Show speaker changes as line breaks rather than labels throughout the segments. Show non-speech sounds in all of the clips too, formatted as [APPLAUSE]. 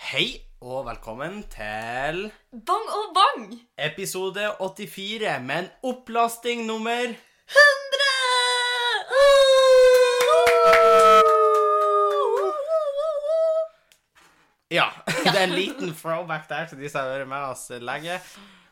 Hei og velkommen til
Bang og bang!
episode 84 med en opplasting nummer
100!
Ja, det er en liten throwback der til de som har vært med oss lenge.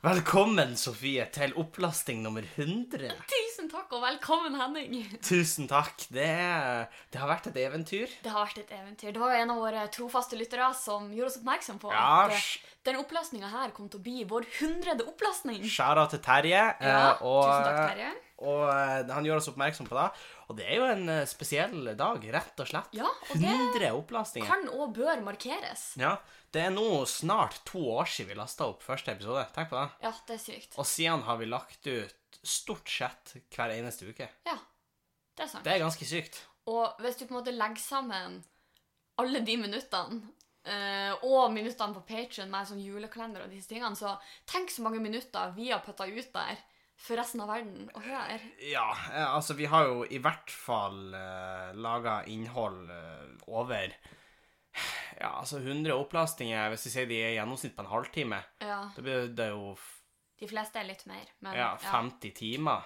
Velkommen, Sofie, til opplasting nummer 100.
Tusen takk og velkommen, Henning.
Tusen takk. Det, er- det har vært et eventyr.
Det har vært et eventyr. Det var jo en av våre trofaste lyttere som gjorde oss oppmerksom på
Ja,
at eh,
sj-
den opplastninga her kom til å bli vår hundrede opplastning.
Skjæra til Terje. eh,
Ja,
og,
tusen takk, Terje.
Og eh, han gjør oss oppmerksom på det. Og det er jo en eh, spesiell dag, rett og slett.
Ja, og det
100 opplastinger.
kan og bør markeres.
Ja, det er nå snart to år siden vi lasta opp første episode. Tenk på det.
Ja, det er sykt.
Og siden har vi lagt ut stort sett hver eneste uke.
Ja, det er sant.
Det er ganske sykt.
Og hvis du på en måte legger sammen alle de minuttene eh, og minuttene på Patreon med sånn julekalender og disse tingene, så tenk så mange minutter vi har putta ut der for resten av verden å høre.
Ja, eh, altså vi har jo i hvert fall uh, laga innhold eh, over ja, altså 100 opplastinger, hvis vi sier de er i gjennomsnitt på en halvtime.
Ja,
Da blir det jo f-
de fleste er litt mer, men
ja, 50 timer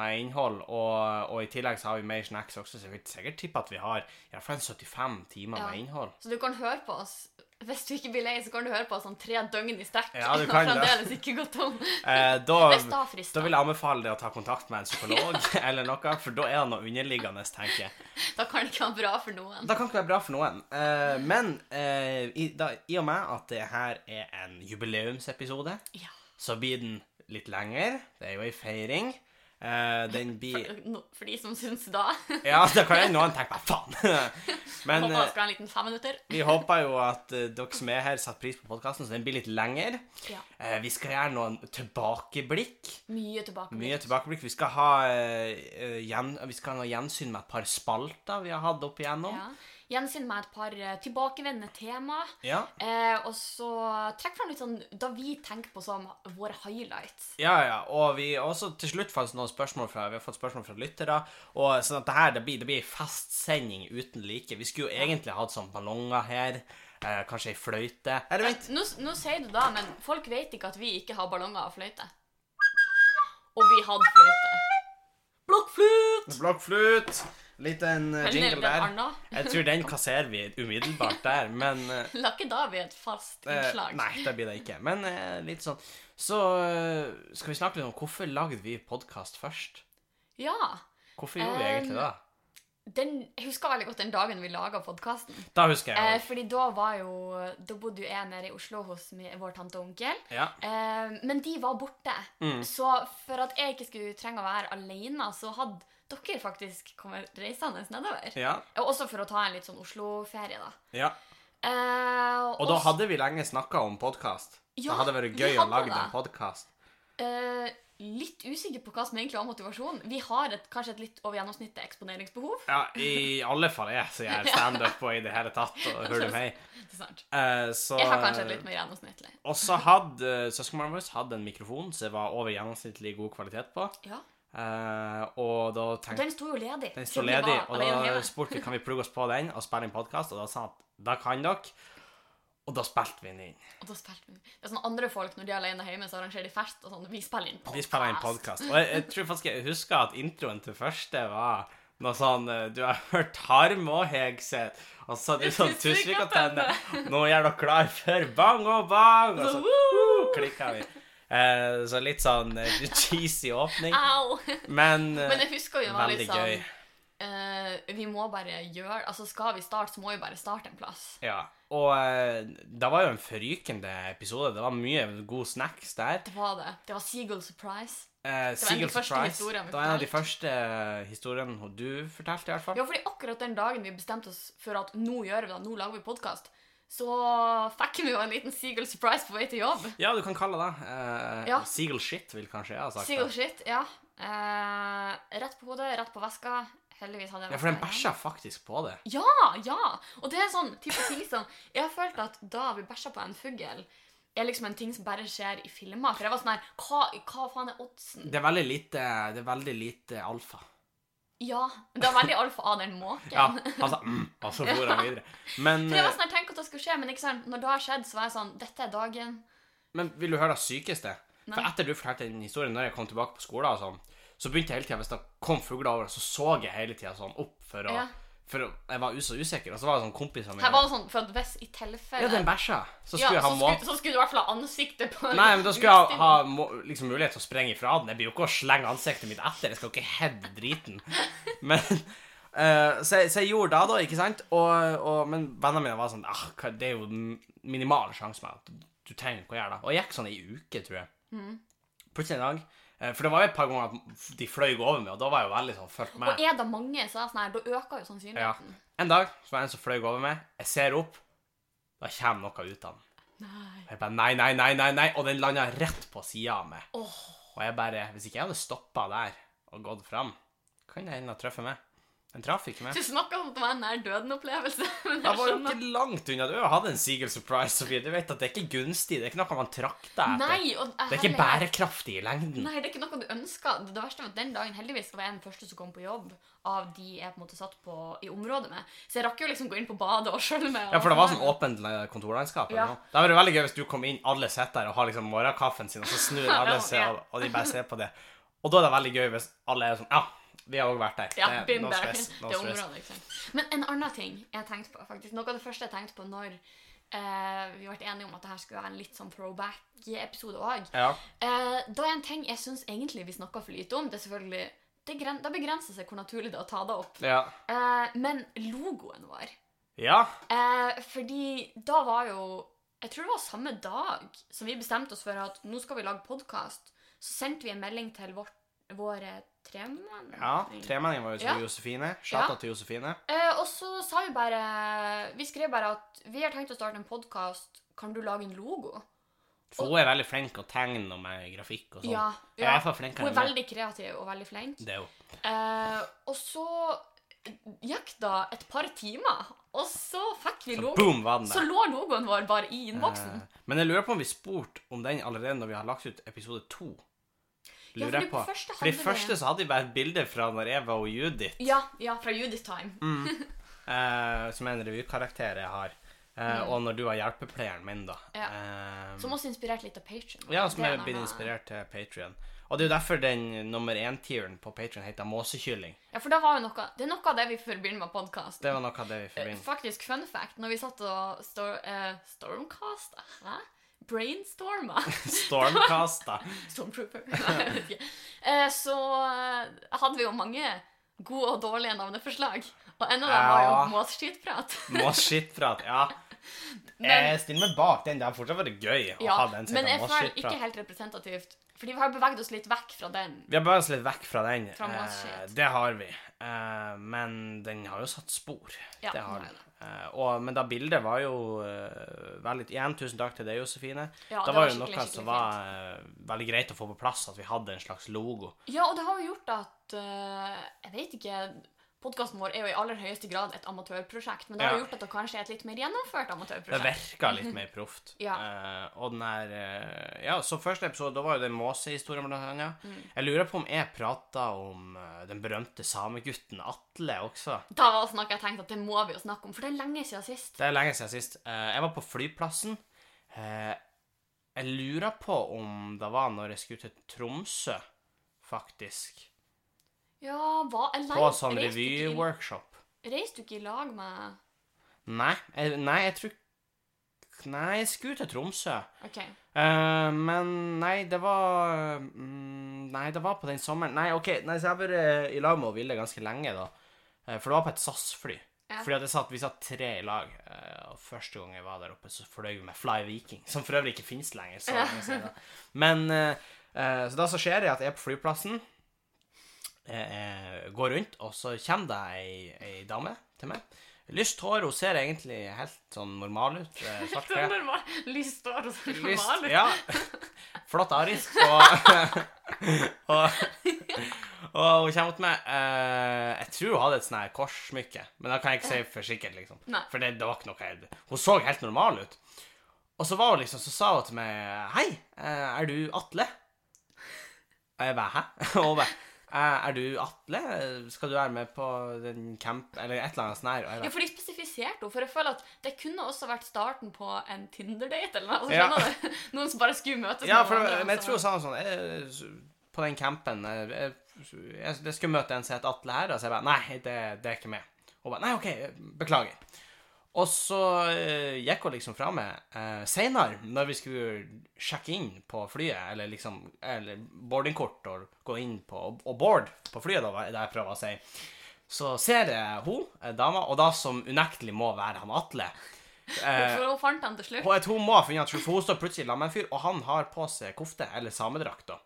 med innhold. Og, og i tillegg så har vi mer snacks også, så jeg vil sikkert tippe at vi har i hvert fall 75 timer
Ja.
med innhold.
Så du kan høre på oss. Hvis du ikke blir lei, så kan du høre på oss sånn tre døgn i strekk.
Ja, du
[LAUGHS] og
kan det.
fremdeles ikke gå tom.
Eh, da,
Hvis da frister.
da vil jeg anbefale deg å ta kontakt med en psykolog eller noe, for da er det noe underliggende, tenker jeg.
Da kan det ikke være bra for noen.
Det kan ikke være bra for noen. Eh, men eh, i, da, i og med at det her er en jubileumsepisode,
Ja.
så blir den litt lengre. Det er jo ei feiring. Eh, den blir
For, no, for de som syns da.
Ja, da kan jeg noen tenke meg faen. [LAUGHS] Men
Håper vi
eh,
skal ha en liten femminutter.
vi håper jo at eh, dere som er her, setter pris på podkasten, så den blir litt lengre.
Ja.
Eh, vi skal gjøre noen tilbakeblikk.
Mye tilbake.
Mye tilbakeblikk. Vi skal ha, eh, gjen, vi skal ha noe gjensyn med et par spalter vi har hatt opp igjennom.
Ja. Gjensyn med et par eh, tilbakevendende tema.
Ja.
Eh, og så trekk fram litt sånn da vi tenker på som våre highlights.
Ja, ja. Og vi har også til slutt fått noen spørsmål fra, vi har fått spørsmål fra lyttere. Og sånn at det her det blir, det blir en festsending uten like. Vi skulle jo egentlig hatt sånn ballonger her. Eh, kanskje ei fløyte. Eller vent.
Nå, nå sier du da, men folk vet ikke at vi ikke har ballonger og fløyte. Og vi hadde fløyte. Blokkfløyt!
Blokkfløyt. Liten eh,
Eller
jingle
blant
der.
annet.
Jeg tror den kasserer vi umiddelbart der, men eh,
La ikke da bli et fast
Eh,
innslag.
nei, det blir det ikke. Men eh, litt sånn Så eh, skal vi snakke litt om hvorfor lagde vi podkast først?
Ja.
Hvorfor gjorde vi
Um,
egentlig det?
Den, jeg husker veldig godt den dagen vi laga podkasten.
Da husker
Eh,
jeg.
fordi da var jo Da bodde jo jeg nede i Oslo hos mi, vår tante og onkel.
jo- ja.
Eh, men de var borte.
Mm.
Så for at jeg ikke skulle trenge å være alene, så hadde dere faktisk kommet reisende nedover.
ja.
Og Også for å ta en litt sånn Oslo-ferie, da.
Ja.
Eh,
Og da hadde vi lenge snakka om podkast.
Ja,
det hadde vært
vi
gøy å
hadde
lage
det.
en podkast.
eh, Litt usikker på hva som egentlig var motivasjonen. Vi har et, kanskje et litt over gjennomsnittet eksponeringsbehov.
Ja, i alle fall jeg som gjør standup og i det hele tatt,
[LAUGHS]
og hører du meg.
Det er sant.
Eh, så
Jeg har kanskje et litt mer gjennomsnittlig.
Og så hadde eh, søskenbarnet vårt hadde en mikrofon som var over gjennomsnittlig god kvalitet på.
Ja.
Eh, og da tenkte
Den sto jo ledig.
Den står
siden vi
Eh, ledig,
var
og
alene
da
hjemme.
spurte vi kan vi plugge oss på den og spille inn podkast, og da sa han at da kan dere. Og da spilte vi den inn.
Og da spilte vi. Det er sånn andre folk, når de er alene hjemme, så arrangerer de fest og sånn. Vi spiller inn
Vi spiller inn podkast. Og jeg, jeg tror faktisk jeg husker at introen til første var noe sånn eh, Du har hørt Harm og Hegseth, og så hadde du sånn
Tusvik og
Tusvik-antenne. Nå gjør dere klar for bang og bang! Og så
Altså-
uh, klikka vi. Eh, så litt sånn eh, cheesy åpning.
Au!
Men, eh,
[LAUGHS] Men jeg husker jo det var
veldig
litt sånn
gøy.
eh, Vi må bare gjøre Altså skal vi starte, så må vi bare starte en plass.
Ja. Og eh, det var jo en forrykende episode. Det var mye god snacks der.
Det var det. Det var Seagull Surprise.
Eh,
Det var en av de
Seagull
første
Surprise.
historiene vi
Det var en av de
fortalte.
første eh, historiene hun- du fortalte, i hvert fall.
Ja, fordi akkurat den dagen vi bestemte oss for at nå gjør vi det, nå lager vi podkast, så fikk vi jo en liten Seagull Surprise på vei til jobb.
Ja, du kan kalle det eh,
Ja.
Seagull Shit, vil kanskje jeg ha sagt.
Seagull
det.
shit, ja. Eh, rett på hodet, rett på veska. Heldigvis hadde jeg
Ja, for den
veska igjen.
bæsja faktisk på det.
Ja, ja! Og det er sånn type ting som Jeg har følt at da vi bæsja på en fugl, er liksom en ting som bare skjer i filmer. For jeg var sånn her Hva, hva faen er oddsen?
Det er veldig lite, det er veldig lite alfa.
Ja. Det var veldig alfa av den måken.
Ja, altså mm, Og så for han videre. Men
For jeg
eh,
[LAUGHS] var sånn her, Tenk at jeg skal skje, men ikke sant, når det har skjedd, så var jeg sånn Dette er dagen.
Men vil du høre det sykeste? For
Nei.
etter du fortalte den historien, når jeg kom tilbake på skolen, og sånn, så begynte jeg hele tida, hvis det kom fugler over, så så jeg hele tida sånn opp for å
Ja.
For å, jeg var us og usikker, og så var det sånn kompiser mine
Her var det sånn For at hvis i tilfelle
Ja, den bæsja. Så
Ja,
skulle jeg ha
så,
må...
skulle, så skulle du i hvert fall ha ansiktet på
Nei, men da
[LAUGHS]
skulle jeg ha må... liksom, mulighet til å sprenge ifra den. Jeg blir jo ikke å slenge ansiktet mitt etter. Jeg skal jo ikke heade driten. Men eh, så, jeg, så jeg gjorde det, da, ikke sant? Og, og, men vennene mine var sånn ah, hva- Det er jo den minimale sjansen for at du trenger ikke å gjøre det. Og jeg gikk sånn ei uke, tror jeg. Plutselig en dag eh, For det var jo et par ganger at de fløy over meg, og da var jeg jo veldig sånn fulgt med.
Og er det mange, så er det sånn her, da øker jo
Ja.
sannsynligheten.
En dag så var det en som fløy over meg. Jeg ser opp. Da kommer noe ut av den.
Nei.
Og jeg bare nei, nei, nei, nei, nei. Og den landa rett på sida av meg.
Åh,
Og jeg bare Hvis ikke jeg hadde stoppa der og gått fram, kan jeg hende ha truffet meg. Den traff ikke meg.
du snakker om at det var en nær døden-opplevelse. [LAUGHS] Men
Da
jeg
var jo
skjønner.
ikke langt unna. Du har jo hatt en Seagull Surprise, Sofie. Du vet at det er ikke gunstig. Det er ikke noe man trakter etter.
Nei, og,
Det er ikke bærekraftig i lengden.
Nei, det er ikke noe du ønsker. Det verste var at den dagen heldigvis var jeg den første som kom på jobb av de jeg på en måte satt på i området med. Så jeg rakk jo liksom gå inn på badet og [LAUGHS] skjølve meg. og-
Ja, for det var sånn åpent le- kontorlandskap. eller
Ja.
noe. Det hadde vært veldig gøy hvis du kom inn, alle sitter der og har liksom morgenkaffen sin, og så snur alle
Ja.
seg, og, og de bare ser på det. Og da er det veldig gøy hvis alle er sånn Ja, vi har òg vært der.
Ja,
det, er
been
no
there. [LAUGHS]
stress, no
det er
stress.
området, ikke sant. Men en annen ting jeg tenkte på, faktisk. Noe av det første jeg tenkte på når eh, vi ble enige om at det her skulle være en litt sånn throwback-episode òg.
Ja.
da er en ting jeg syns egentlig vi snakker for lite om. Det er selvfølgelig det, gren- det begrenser seg hvor naturlig det er å ta det opp.
Ja.
Eh, men logoen vår
ja.
Eh, fordi da var jo Jeg tror det var samme dag som vi bestemte oss for at nå skal vi lage podkast. Så sendte vi en melding til vårt, våre tremenn.
ja. Tremenningen var jo til
Ja.
Josefine. Chata
Ja.
til Josefine.
Eh, og så sa vi bare Vi skrev bare at vi har tenkt å starte en podkast. Kan du lage en logo?
For hun er veldig flink å tegne og med grafikk og sånn.
Ja.
Jeg er i
ja.
hvert fall flinkere
Hun er
enn det.
veldig kreativ og veldig flink.
Det er hun.
Eh, og så gikk det et par timer, og så fikk vi
Så
logoen.
boom, var den
Så
der.
lå logoen vår bare i innboksen.
Eh, Men jeg lurer på om vi spurte om den allerede når vi har lagt ut episode to.
Ja,
Lurer
fordi
jeg på.
på første
For i
hadde vi-
første så hadde vi bare et bilde fra når Eva og Judith
Ja, ja, fra Judith Time.
Mm. Eh, som er en revykarakter jeg har. Eh, Og når du var hjelpepleieren min, da.
Mm. Ja.
Eh,
Som også inspirert litt av Patreon.
ja, som
Det
er
en
blitt
annen-
inspirert til Patrion. Og det er jo derfor den nummer én-tieren på Patrion heter Måsekylling.
Ja, for da var jo noe, det er noe av det vi forbinder med podkast.
Det var noe av det vi forbinder.
Faktisk, fun fact, når vi satt og stor, eh, stormcasta Hæ? Brainstorma.
[LAUGHS]
[LAUGHS]
Stormcasta. [LAUGHS]
Stormtrooper. Nei, jeg vet ikke. Eh, så eh, hadde vi jo mange gode og dårlige navneforslag. Og en av dem var
Ja.
jo måsskittprat.
Måsskittprat. Ja. Jeg stiller meg bak den. Det har fortsatt vært gøy å ha
Ja,
den som
men jeg
heter
føler ikke
Måsskittprat.
helt representativt. Fordi vi har beveget oss litt vekk fra den.
Vi har bare oss litt vekk fra den.
Fra
Eh,
måsskitt.
det har vi. Eh, men den har jo satt spor.
Ja,
det har
den har
den. Eh, og, men da bildet var jo eh, veldig Igjen, tusen takk til deg, Josefine.
Ja,
det, var
det var
jo
skikkelig,
noe
skikkelig
som var eh, veldig greit å få på plass, at vi hadde en slags logo.
Ja, og det har jo gjort at eh, Jeg vet ikke Podkasten vår er jo i aller høyeste grad et amatørprosjekt, men det har
Ja.
gjort at det kanskje er et litt mer gjennomført
Det
amatørprosjekt.
virka litt mer proft. Eh, og den der eh, Ja, så første episode, da var jo den måsehistorien, blant annet.
Mm.
Jeg lurer på om jeg prata om eh, den berømte samegutten Atle også.
Da var det noe jeg tenkte at det må vi jo snakke om, for det er lenge siden sist.
Det er lenge siden sist. Eh, jeg var på flyplassen. Eh, jeg lurer på om det var når jeg skulle til Tromsø, faktisk.
Ja, hva jeg
På sånn
reiste du ikke i-
revyworkshop.
Reiste du ikke i lag med
Nei, jeg, nei, jeg tror Nei, jeg skulle til Tromsø.
OK.
Eh, men nei, det var mm, Nei, det var på den sommeren Nei, OK, nei, så jeg har vært eh, i lag med hun Vilde ganske lenge, da. Eh, for det var på et SAS-fly.
Ja.
Fordi at jeg satt, Vi satt tre i lag, eh, og første gang jeg var der oppe, så fløy vi med Fly Viking, som for øvrig ikke finnes lenger. Så lenge siden. Men eh, eh, Så da så skjer det at jeg er på flyplassen, eh, eh, går rundt, og så kommer det ei, ei dame til meg. Lyst hår, hun ser egentlig helt sånn normal ut. Eh, svart
[LAUGHS] Sånn
klær.
Lyst hår og sånn
Lyst,
normal.
ja. Flott arisk. Og, og, og hun kommer mot meg. eh, jeg tror hun hadde et sånn her korssmykke, men det kan jeg ikke si for sikkert. liksom.
Nei.
For det, det var ikke noe jeg, Hun så helt normal ut. Og så var hun liksom, så sa hun til meg Hei, eh, er du Atle? Og jeg bare Hæ? [LAUGHS] Og hun bare Er, er du Atle? Skal du være med på den camp Eller et eller annet sånt her? og jeg
Ja,
bare,
for de spesifiserte henne. For jeg føler at det kunne også vært starten på en Tinder-date. eller noe,
Ja.
altså, skjønner du? [LAUGHS] Noen som bare skulle møtes.
Ja,
med
for
hverandre,
men jeg
altså.
tror sånn, sånn jeg, På den campen eh, jeg, jeg, jeg skulle møte en som het Atle her, og så jeg bare Nei, det, det er ikke meg. Og bare Nei, OK, beklager. Og så eh, gikk hun liksom fra meg uh, seinere, når vi skulle sjekke inn på flyet, eller liksom Eller boardingkort og gå inn på og board på flyet, da, var det jeg prøver å si. Så ser jeg hun, eh, dama, og da som unektelig må være han Atle. eh,
For hun fant han til slutt.
og jeg tror hun må ha funnet han, for hun står plutselig sammen med en fyr, og han har på seg kofte, eller samedrakt, da.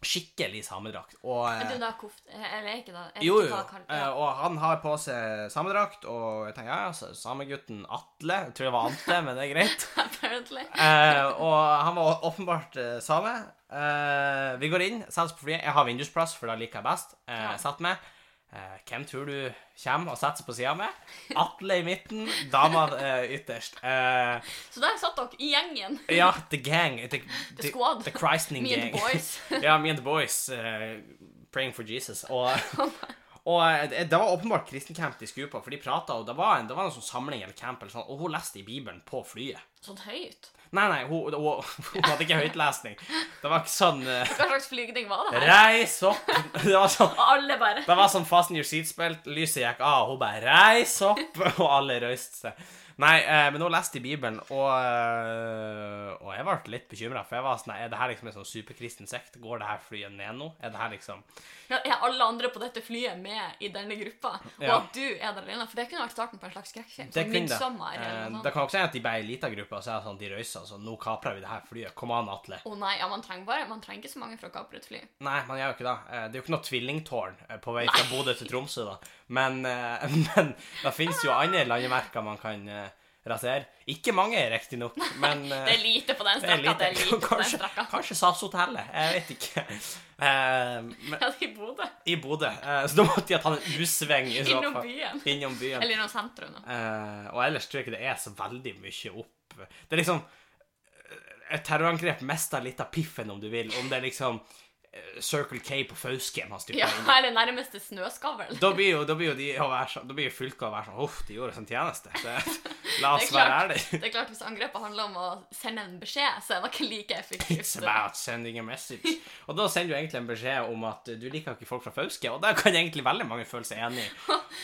Skikkelig samedrakt. Og, eh,
Men det er jo da koft... Eller ikke da. Jeg vet
jo,
ikke
jo.
hva det kalles.
eh, Og han har på seg samedrakt, og jeg tenker ja, ja, så samegutten Atle Jeg tror det var Ante, men det er
[LAUGHS]
greit.
Ja, apparently.
Eh, og han var åpenbart eh, same. Eh, vi går inn, setter oss på flyet. Jeg har vindusplass, for da liker jeg best. Eh,
Ja.
Sett meg. Eh, hvem tror du kommer og setter seg på sida med? Atle i midten, dama eh, ytterst. Eh,
Så der satt dere i gjengen.
ja, the gang. The,
The squad.
The christening
Me and
gang.
the boys.
[LAUGHS] ja, me and the boys. eh, praying for Jesus. Og,
[LAUGHS]
og
Oh
eh, det var åpenbart kristencamp de skulle på, for de prata, og det var, en, det var en sånn samling eller camp, eller sånn, og hun leste i Bibelen på flyet.
Sånn høyt.
Nei, nei, hun, hun, hun hadde ikke høytlesning. Det var ikke sånn eh,
Hva slags flygning var det her?
Reis opp! [LAUGHS] Det var sånn
Og alle bare
det var sånn Fasten your seat-spilt. Lyset gikk av, og hun bare reis opp, [LAUGHS] og alle røyste seg. Nei, eh, men hun leste i Bibelen, og, eh, og jeg ble litt bekymra. For jeg var sånn nei, Er det her liksom en sånn superkristen sekt? Går det her flyet ned nå? Er det her liksom
Ja, Er alle andre på dette flyet med i denne gruppa? Og
Ja.
at du er der alene? For det kunne vært starten på en slags skrekkfilm.
Det
Sånn
kunne det.
Midtsommer
Eh,
eller
Det
noe sånt.
kan også hende at de ble ei lita gruppe, og så er det sånn de røyser, så nå kaprer vi det her flyet. Kom an, Atle.
Å nei, ja, man trenger bare Man trenger ikke så mange for å kapre et fly.
Nei, man gjør jo ikke det. Eh, Det er jo ikke noe tvillingtårn eh, på vei fra Bodø til Tromsø, da. Men, eh, [LAUGHS] men det fins jo andre landemerker man kan eh, rasere. Ikke mange, riktignok, men eh,
[LAUGHS] Det er lite på den
Det er
strekka. Det er
lite. [LAUGHS]
lite på den
Kanskje,
strekka.
kanskje SAS-hotellet. Jeg vet ikke. [LAUGHS] Eh, men,
Ja, det er i Bodø.
I Bodø. Eh, så da måtte de ha tatt en U-sving. i så
Innom
fall.
byen.
Innom byen.
Eller innom sentrum. da.
Eh, og ellers tror jeg ikke det er så veldig mye opp Det er liksom eh, Et terrorangrep mister litt av piffen, om du vil. Om det er liksom eh, Circle K på Fauske man styrker
Ja,
inn i.
eller nærmeste snøskavl.
Da blir jo, da blir jo de å være sånn, da blir jo fylket å være sånn Uff, de gjorde oss en tjeneste. Det, la
Det
oss
er
være
klart.
ærlige.
Det er klart Hvis angrepet handler om å sende en beskjed, så er det ikke like
It's
effektivt.
about sending a message. Og da sender du egentlig en beskjed om at du liker ikke folk fra Fauske, og der kan egentlig veldig mange føle seg enig.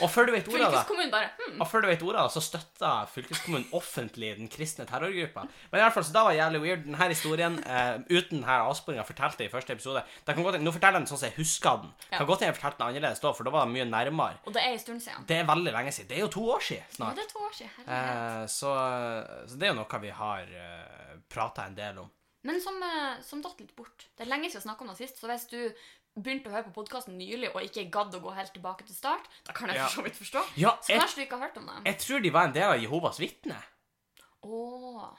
Og før du vet ordet av det,
Fylkeskommunen bare hm,
og før du vet ordet av det, så støtter fylkeskommunen offentlig den kristne terrorgruppa. Men i hvert fall, så da var det jævlig weird. Denne historien, eh, uten denne avsporinga, fortalte jeg i første episode. Det kan godt, hende- nå forteller jeg den sånn som jeg husker den. Det kan godt hende jeg fortalte den annerledes da, for da var det mye nærmere.
Og det er en stund siden.
Det er veldig lenge siden. Det er jo to år siden
Ja,
snart.
det er to år siden. herregud.
Eh, så, så det er jo noe vi har eh, prata en del om.
Men som, eh, som datt litt bort. Det er lenge siden jeg snakket om det sist, så hvis du begynte å høre på podkasten nylig og ikke gadd å gå helt tilbake til start, da kan jeg
Ja.
for så vidt forstå.
Ja,
Så
jeg
kanskje du ikke har hørt om det.
Jeg tror de var en del av Jehovas vitner.
Åh.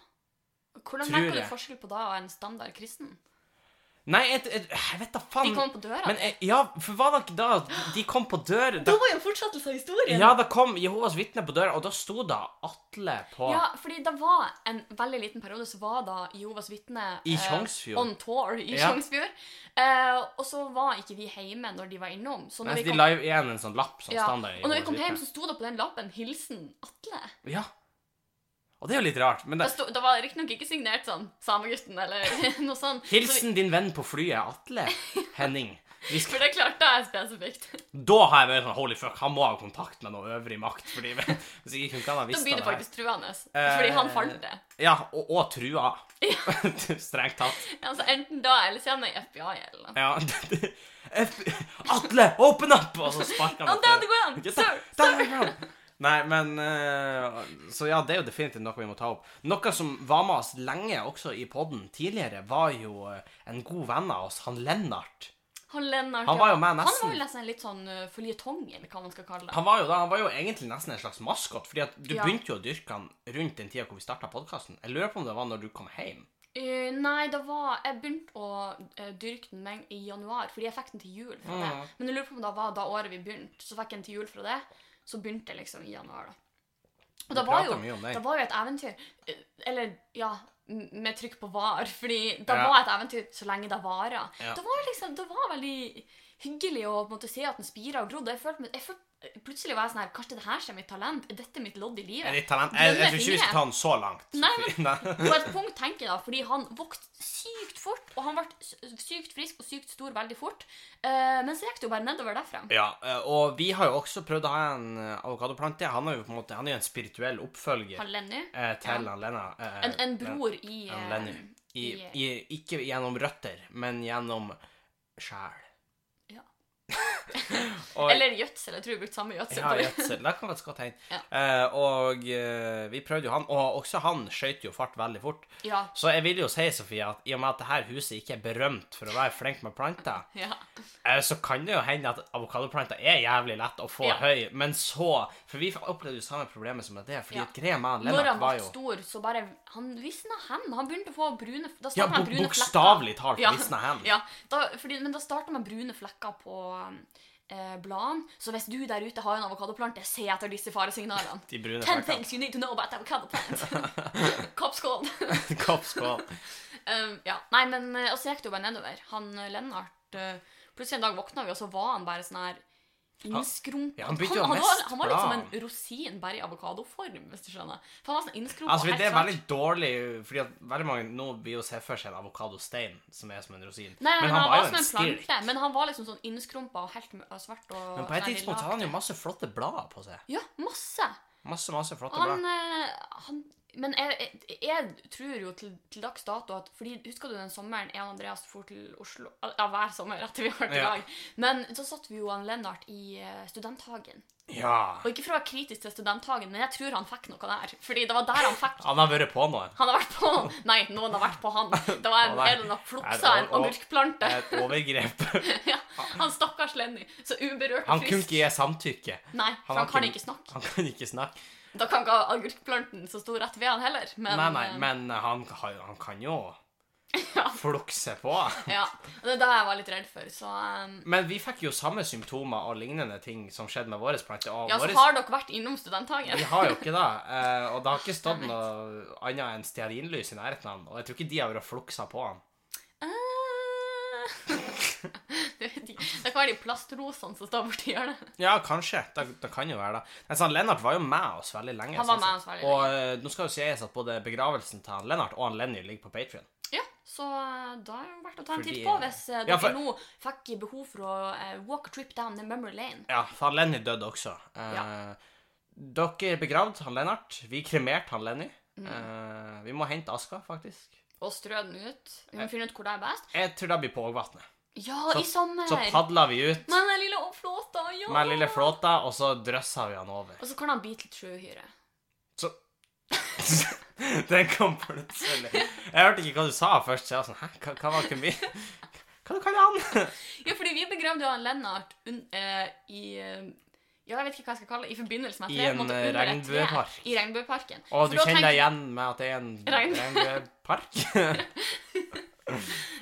Hvordan
Tror
merker du
jeg.
forskjell på da og en standard kristen?
Nei, jeg, jeg, jeg vet da
De
faen.
kommer på døra.
Men jeg, ja, for hva var det da de kom på døra?
det
Da,
var jo en fortsettelse av historien!
ja, da kom Jehovas vitner på døra, og da sto da Atle på
Ja, fordi det var en veldig liten periode så var da Jehovas vitne
I
eh,
Tjongsfjord.
on tour i
Ja.
Tjongsfjord. Eh, og så var ikke vi hjemme når de var innom. Så
Nei,
når
så
vi
de
kom,
la jo igjen en sånn lapp som
ja,
standard.
og når vi
Jehovas
kom hjem,
vitner.
så sto det på den lappen 'Hilsen Atle'.
Ja. Og det er jo litt rart, men
Det,
det
sto, det var riktignok ikke signert sånn 'Samegutten' eller [LAUGHS] noe sånt. Så vi-
Hilsen din venn på flyet, Atle
[LAUGHS]
Henning. Vi
For
skal,
det er klart, det er spesifikt.
da har jeg vært sånn Holy fuck, han må ha kontakt med noe øvrig makt. Fordi, [LAUGHS] hvis ikke kunne han ha
Da
visst
blir det
av det. her.
faktisk truende.
Eh,
Fordi han fant det.
Ja, og, og trua. [LAUGHS] Strengt tatt.
Altså, enten da, eller så er han i FBI eller noe.
Ja, [LAUGHS] F- Atle, open up! Og så sparker
Ja,
han
det går an!
etter-
Sir!
Der er han! Nei, men eh, Så ja, det er jo definitivt noe vi må ta opp. Noe som var med oss lenge også i podden tidligere, var jo eh, en god venn av oss, han Lennart.
Han Lennart
Han var jo med nesten.
Han var jo nesten en litt sånn uh, føljetong, eller hva man skal kalle det.
Han var jo da, han var jo egentlig nesten en slags maskot, fordi at du
Ja.
begynte jo å dyrke han rundt den tida hvor vi starta podkasten. Jeg lurer på om det var når du kom hjem.
Eh, nei, det var Jeg begynte å eh, dyrke den med en- i januar, fordi jeg fikk den til jul fra det.
Mm.
Men jeg lurer på om det var da året vi begynte. Så fikk jeg den til jul fra det. Så begynte jeg liksom i januar, da.
Vi
Og det var,
pratet
jo,
mye om det.
det var jo et eventyr. eh, Eller ja, m- med trykk på var. [LAUGHS] Fordi det
Ja.
var et eventyr så lenge det varer.
Ja.
Det var liksom Det var veldig hyggelig å på en måte, se at den spirer og grodd. Jeg følte, meg- jeg følte, plutselig var jeg sånn her Kanskje det her er mitt talent? Er dette mitt lodd i
Er
livet?
ditt talent Jeg, jeg tror ikke vi skal ta den så langt.
Nei,
Sofie. [LAUGHS] Nei.
På et punkt tenker jeg da, fordi han vokste sykt fort, og han ble s- sykt frisk og sykt stor veldig fort. Eh, men så gikk det jo bare nedover derfra.
Ja, eh, og vi har jo også prøvd å ha en eh, avokadoplante. Han er jo på en måte Han er jo en spirituell oppfølger
Han Lenny.
eh, til
Ja.
han Lena. eh,
En, en
Len-
bror i
han
eh,
Lenny. I,
i-
i, ikke gjennom røtter, men gjennom sjel.
Ja.
[LAUGHS] og,
Eller gjødsel. Jeg tror vi brukte samme gjødsel.
ja,
på det.
gjødsel. Det kan være et godt tegn.
Ja.
Eh, og eh, vi prøvde jo han, og også han skøyt jo fart veldig fort.
ja.
Så jeg vil jo si, Sofie, at i og med at det her huset ikke er berømt for å være flink med planter,
ja.
Eh, så kan det jo hende at avokadoplanter er jævlig lett å få
Ja.
høy, men så For vi opplevde jo samme problemet som det, fordi
Ja.
at greia med han
Når han
Lennart
ble
var jo
stor, så bare Han visna hen. Han begynte å få brune
Ja,
Da startet han
bok-
brune
bokstavelig talt
Ja.
visna hen.
Ja, da, fordi, men da starta med brune flekker på eh, bladene. Så hvis du der ute har en avokadoplante, se etter disse faresignalene.
De brune
Ten
flekkene. [LAUGHS]
things you need to know about avocado plant. Kopp skål.
Kopp skål.
[LAUGHS] Um, ja. Nei, men eh, Og så gikk det jo bare nedover. Han eh, Lennart eh, Plutselig en dag våkna vi, og så var han bare sånn her innskrumpa.
ja, han begynte jo å
han, var,
miste
han var litt som
bladene.
en rosin bare i avokadoform, hvis du skjønner. For han var sånn innskrumpa.
Altså, det er veldig dårlig, fordi at veldig mange nå vil jo se for seg en avokadostein som er som en rosin,
Nei, men, han, var, som en
stilk.
plante, men han var liksom sånn innskrumpa og helt mø- og svart og sånn
Men på et tidspunkt så hadde han jo masse flotte blader på seg.
Ja, masse.
Masse, masse flotte
Han,
blader.
eh, han Men jeg, jeg, jeg tror jo til, til dags dato at Fordi husker du den sommeren jeg og Andreas dro til Oslo Ja, hver sommer etter vi har vært i
Ja.
lag. Men så satt vi jo han Lennart i eh, studenthagen.
Ja.
Og ikke for å være kritisk til studenthagen, men jeg tror han fikk noe der. Fordi det var der han fikk
Han har vært på
[LAUGHS]
noe.
Han har vært på Nei, noen har vært på han. Det var en
Å, nei.
eller annen
Nei,
fluksa
det
en
var- å.
agurkplante.
Et overgrep.
[LAUGHS] ja, han stakkars Lenny. Så uberørt
Han
og
kunne
frisk.
ikke gi samtykke.
Nei, for
var
han kan
ikke-
ikke snakke.
Han kunne ikke snakke.
Da kan ikke agurkplanten som sto rett ved han heller. Men, eh,
nei, nei, men han, har- han kan jo
[LAUGHS] Ja.
flukse på.
ja, og Det er det jeg var litt redd for. Så um,
Men vi fikk jo samme symptomer og lignende ting som skjedde med våre planter. Og
Ja, så
våres-
har dere vært innom studenthagen?
Vi har jo ikke det. eh, Og det har ikke stått noe annet enn stearinlys i nærheten av den. Og jeg tror ikke de har vært og fluksa på han.
Eh, [LAUGHS] det vet jeg ikke. Det kan være de plastrosene som står borti hjørnet.
Ja, kanskje. Det, det kan jo være det. Men sånn, Lennart var jo med oss veldig lenge.
Han var
sånn
med oss
sett.
veldig
Og eh, nå skal jo sies at både begravelsen til han Lennart og han Lenny ligger på Patrion.
Ja, så eh, da er det verdt å ta en
Fordi-
titt på hvis eh,
Ja,
dere
for-
nå fikk behov for å eh, walk a trip down the memory lane.
Ja, for han Lenny døde også. Eh, Dere begravde han Lennart. Vi kremerte han Lenny. Eh, vi må hente aska, faktisk.
Og strø den ut. Vi må finne ut hvor det er best.
Jeg tror det blir på Ågvatnet.
Ja,
Så-
i sommer!
Så padla vi ut
Med den lille flåta, ja!
med lille flåta, og så drøssa vi han
[LAUGHS]
over.
Og så kan han bite litt sjøhyre.
Så Den kom plutselig. Jeg hørte ikke hva du sa først, så jeg var sånn Hæ, hva, hva var ikke mye? Hva du kaller han?
Ja, fordi vi begravde jo han Lennart un eh, i eh, ja, jeg vet ikke hva jeg skal kalle det. I forbindelse med
I
at det er på
en,
måte
eh,
under et tre.
regnbuepark.
I regnbueparken.
Og
For
du
da
kjenner deg
tenkte-
igjen med at det er en
Regn.
regnbuepark?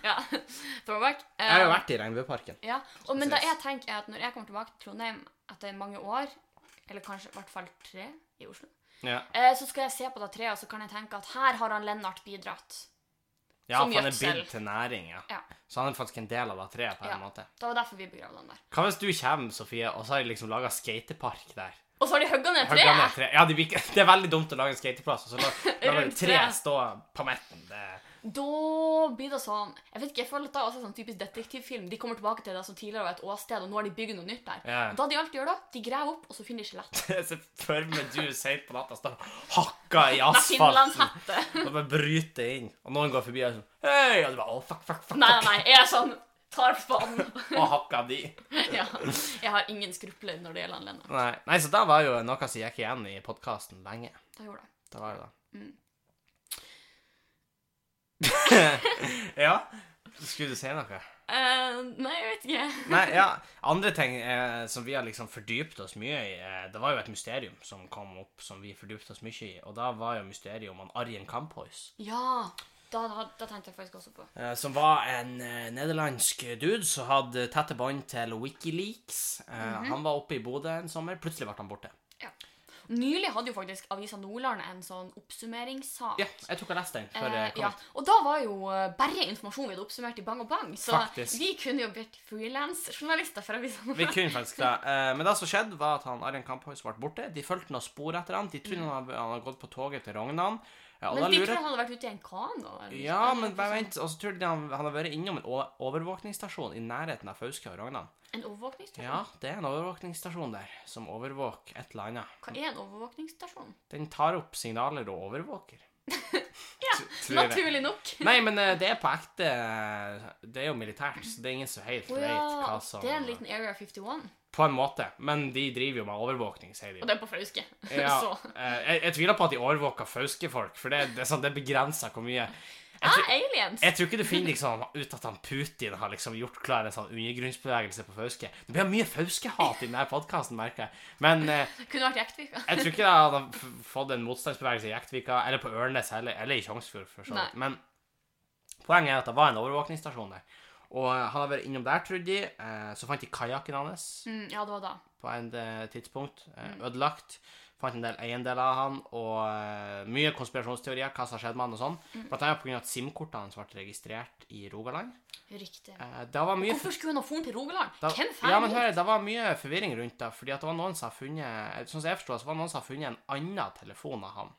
Ja. [LAUGHS] Throwback. Eh,
Jeg har jo vært i regnbueparken.
Ja, og, men da
Precis.
jeg tenker er at når jeg kommer tilbake til Trondheim etter mange år, eller kanskje i hvert fall tre i Oslo,
Ja,
eh, så skal jeg se på det treet, og så kan jeg tenke at her har han Lennart bidratt.
ja
Som
for han er
gjødsel.
bygd til næring, ja.
Ja,
Så han er faktisk en del av det treet på en
Ja.
måte.
Det var derfor vi begravde han der.
Hva hvis du kommer, Sofie, og så har de liksom laga skatepark der?
Og så har de hogga ned
Hogga ned
treet!
tre. Ja, det, blir ikke- det er veldig dumt å lage en skateplass, og så la- la vel
Rundt
tre
treet.
stå på midten. Det
Da blir det sånn Jeg vet ikke, jeg føler at det er også en sånn typisk detektivfilm. De kommer tilbake til det som tidligere var et åsted, og nå har de bygd noe nytt der.
Ja.
Da de alltid gjør da, de graver opp, og så finner de skjelett.
[LAUGHS] Jeg ser for meg du seint på natta står hakka i
Med
asfalten
finlandshette.
og bare bryter inn, og noen går forbi og er sånn Hei! Og du bare Å, fuck, fuck, fuck.
Nei, nei, jeg er sånn Tar faen.
Og hakka de.
[LAUGHS] ja. Jeg har ingen skrupler når det gjelder han Lennart.
Nei, nei, så det var jo noe som gikk igjen i podkasten lenge.
Da gjorde jeg.
Det var jo det.
Mm.
[LAUGHS] ja? Skulle du si noe?
Eh, nei, jeg vet ikke.
Nei, ja. Andre ting eh, som vi har liksom fordypt oss mye i, eh, det var jo et mysterium som kom opp, som vi fordypte oss mye i, og da var jo mysteriet om han Arjen Kamphuis.
Ja, da, da, da tenkte jeg faktisk også på.
Eh, Som var en eh, nederlandsk dude som hadde
Mhm.
tette bånd til Wikileaks. Eh, Han var oppe i Bodø en sommer. Plutselig ble han borte.
Nylig hadde jo faktisk Avisa Nordland en sånn oppsummeringssak.
Ja, jeg tror ikke jeg leste den før
Eh,
jeg kom
ja.
ut.
Og da var jo eh, bare informasjon vi hadde oppsummert i Bang og Bang. Så
Faktisk.
vi kunne jo blitt frilansjournalister fra Avisa
Vi
[LAUGHS] Nordland.
kunne faktisk det. Eh, Men det som skjedde, var at han, Arjen Kamphøys ble borte. De fulgte noen spor etter han. De trodde han hadde- han hadde gått på toget til Rognan. Eh, Og
Men
da
vi
lurer
trodde han hadde vært ute i en kano. eller
Ja,
noe
men
sånt.
bare vent. Og så trodde de han, han hadde vært innom en o- overvåkningsstasjon i nærheten av Fauske og Rognan.
En overvåkningsstasjon?
Ja, det er en overvåkningsstasjon der som overvåker et eller annet.
Hva er en overvåkningsstasjon?
Den tar opp signaler og overvåker.
[LAUGHS] Ja,
Tr- tror jeg.
Naturlig nok.
Nei, men eh, det er på ekte eh, Det er jo militært, så det er ingen som helt
[LAUGHS] Å
vet
ja,
hva som
det er en liten Area 51.
På en måte. Men de driver jo med overvåkning, sier de.
Og det er på Fauske. [LAUGHS]
Ja,
Så
eh, jeg, jeg tviler på at de overvåker fauske-folk, for det, det, er sånn, det begrenser hvor mye jeg
Ah,
tror,
aliens!
jeg tror ikke du finner liksom, ut at han Putin har liksom gjort klar en sånn undergrunnsbevegelse på Fauske. Det blir mye Fauske-hat i denne podkasten, merker jeg. Men eh,
Kunne vært Jektvika.
jeg tror ikke jeg hadde f- fått en motstandsbevegelse i Jektvika, eller på Ørnes, eller, eller i Tjongsfjord, for så
Nei.
vidt. Men poenget er at det var en overvåkningsstasjon der. Og eh, han har vært innom der, trodde de. Eh, Så fant de kajakken hans
Mm, ja, det var da.
på en eh, tidspunkt. eh, Ødelagt. Fant en del eiendeler av han, og eh, mye konspirasjonsteorier, hva som har skjedd med han og sånn. Blant annet pga. at SIM-kortene hans ble registrert i Rogaland.
Riktig.
Eh, det var mye
Hvorfor skulle hun ha foren til Rogaland?
da,
Hvem
ja, men
faen?
hør, det var mye forvirring rundt det, fordi at det var noen som har funnet Sånn som jeg forstår, så var det noen som har funnet en annen telefon av han.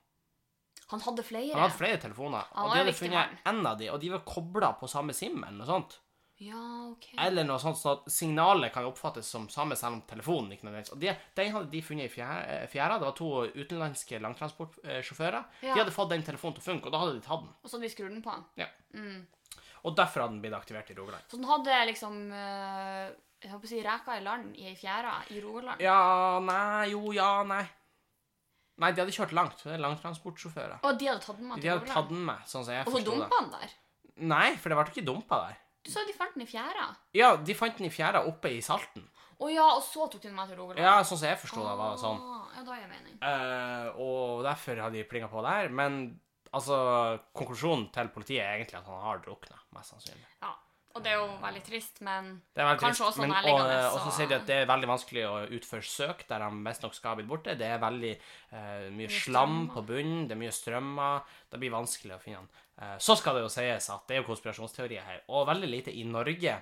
han hadde flere.
Han hadde flere telefoner,
Han
og
var
de
en
hadde
viktig
funnet en av de, og de var kobla på samme SIM eller noe sånt.
Ja, ok.
Eller noe sånt, sånn at signalet kan jo oppfattes som samme, selv om telefonen ikke nødvendigvis Og de, den hadde de funnet i fjæra. eh, fjæra. Det var to utenlandske langtransportsjåfører.
Ja.
De hadde fått den telefonen til å funke, og da hadde de tatt den.
Og så hadde de skrudd den på han.
Ja.
Mm.
Og derfor hadde den blitt aktivert i Rogaland.
Så den hadde liksom eh, Jeg holdt på å si reka i land i ei fjæra i Rogaland.
Ja, nei, jo, ja, nei. Nei, de hadde kjørt langt. Det er langtransportsjåfører.
Og de hadde tatt den med
De
til
hadde tatt
Rogaland.
den med, sånn som jeg
Og så
forsto det.
dumpa han der.
Nei, for det ble ikke dumpa der.
Du sa jo de fant den i fjæra.
Ja, de fant den i fjæra oppe i Salten.
Å ja, og så tok de den med til Rogaland.
Ja, sånn som jeg forsto det, var det sånn.
Ah, Ja, da gir det mening.
Eh, og derfor har de plinga på der. Men altså, konklusjonen til politiet er egentlig at han har drukna, mest sannsynlig.
Ja. Og det er jo veldig trist, men
Det er veldig
Kanskje
trist,
også
men-
nærliggende,
og, og så
så-
sier de at det er veldig vanskelig å utføre søk der han visstnok skal ha blitt borte. Det er veldig eh, mye slam
strømmer.
på bunnen, det er mye strømmer. Det blir vanskelig å finne han. Eh, så skal det jo sies at det er jo konspirasjonsteorier her, og veldig lite i Norge.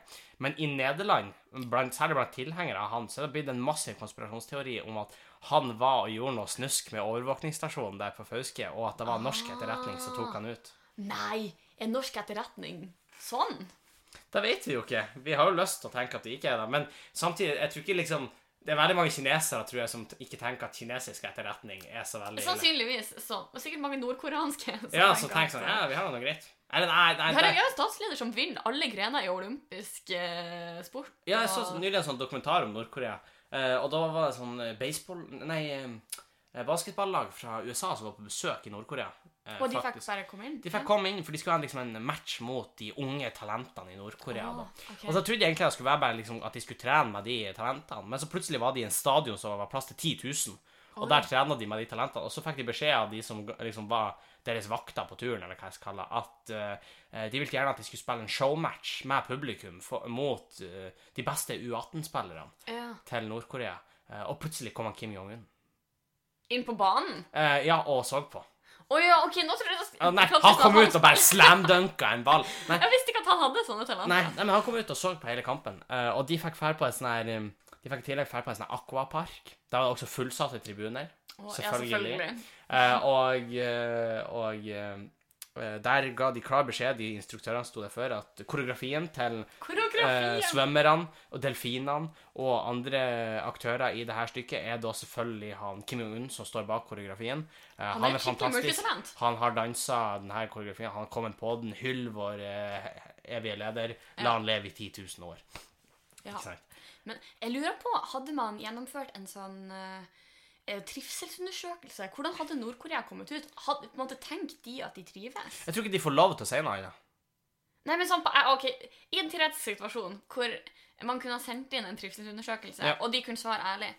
Men i Nederland, blant, særlig blant tilhengere av han, så er det blitt en massiv konspirasjonsteori om at han var og gjorde noe snusk med overvåkningsstasjonen der på Fauske, og at det var norsk etterretning som tok han ut.
Nei! Er norsk etterretning sånn?
Det vet vi jo ikke. Vi har jo lyst til å tenke at det ikke er det, men samtidig, jeg tror ikke liksom Det er veldig mange kinesere tror jeg, som t- ikke tenker at kinesisk etterretning er så veldig ille.
Sannsynligvis sånn. Og sikkert mange nordkoreanske. som
Ja, så tenk
at-
sånn Ja, vi har noe greit. Eller nei, nei,
Vi har
nei.
vi har en statsleder som vinner alle grener i olympisk eh, sport.
Ja, jeg
og-
så nylig en sånn dokumentar om Nord-Korea, eh, og da var det sånn eh, baseball Nei, eh, basketballag fra USA som var på besøk i Nord-Korea. eh,
og de fikk
faktisk.
bare komme inn?
De fikk komme inn, for de skulle ha liksom en match mot de unge talentene i Nord-Korea. da.
Ah, ok.
Og så trodde jeg egentlig det skulle være bare liksom at de skulle trene med de talentene, men så plutselig var de i en stadion som var plass til 10 000, og
Oi.
der trena de med de talentene. Og så fikk de beskjed av de som g- liksom var deres vakter på turen, eller hva jeg skal kalle det, at eh, de ville gjerne at de skulle spille en showmatch med publikum for, mot eh, de beste U18-spillerne
ja.
til Nord-Korea. Eh, og plutselig kom han Kim Jong-un.
Inn på banen?
Eh, ja, og så på.
Å ja, OK, nå tror jeg
Eh, nei,
Jeg trodde
han
ikke
kom
at
ut og bare slamdunka en ball. Nei,
Jeg visste ikke at han hadde sånne talenter.
Nei, nei, men han kom ut og så på hele kampen, eh, og de fikk fær på en sånn her um, De fikk i tillegg fær på en sånn her aquapark. Der var det også fullsatte tribuner.
Å, ja, selvfølgelig.
Eh, og eh, og eh, der ga de klar beskjed, de instruktørene sto der før, at koreografien til eh,
Koreografien!
svømmerne og delfinene og andre aktører i det her stykket er da selvfølgelig han Kim Jong-un som står bak koreografien. Eh,
er et skikkelig multitalent.
Han har dansa denne koreografien. Han har kommet på den. Hyll vår eh, evige leder. La han leve i 10 000 år.
ja.
Ikke sant?
Men jeg lurer på, hadde man gjennomført en sånn eh, eh, trivselsundersøkelse? Hvordan hadde Nord-Korea kommet ut? Hadde, på en måte tenkt de at de trives?
Jeg tror ikke de får lov til å si noe annet.
Nei, men sånn på, eh, ok, I en teoretisk situasjon hvor man kunne ha sendt inn en trivselsundersøkelse,
Ja.
og de kunne svare ærlig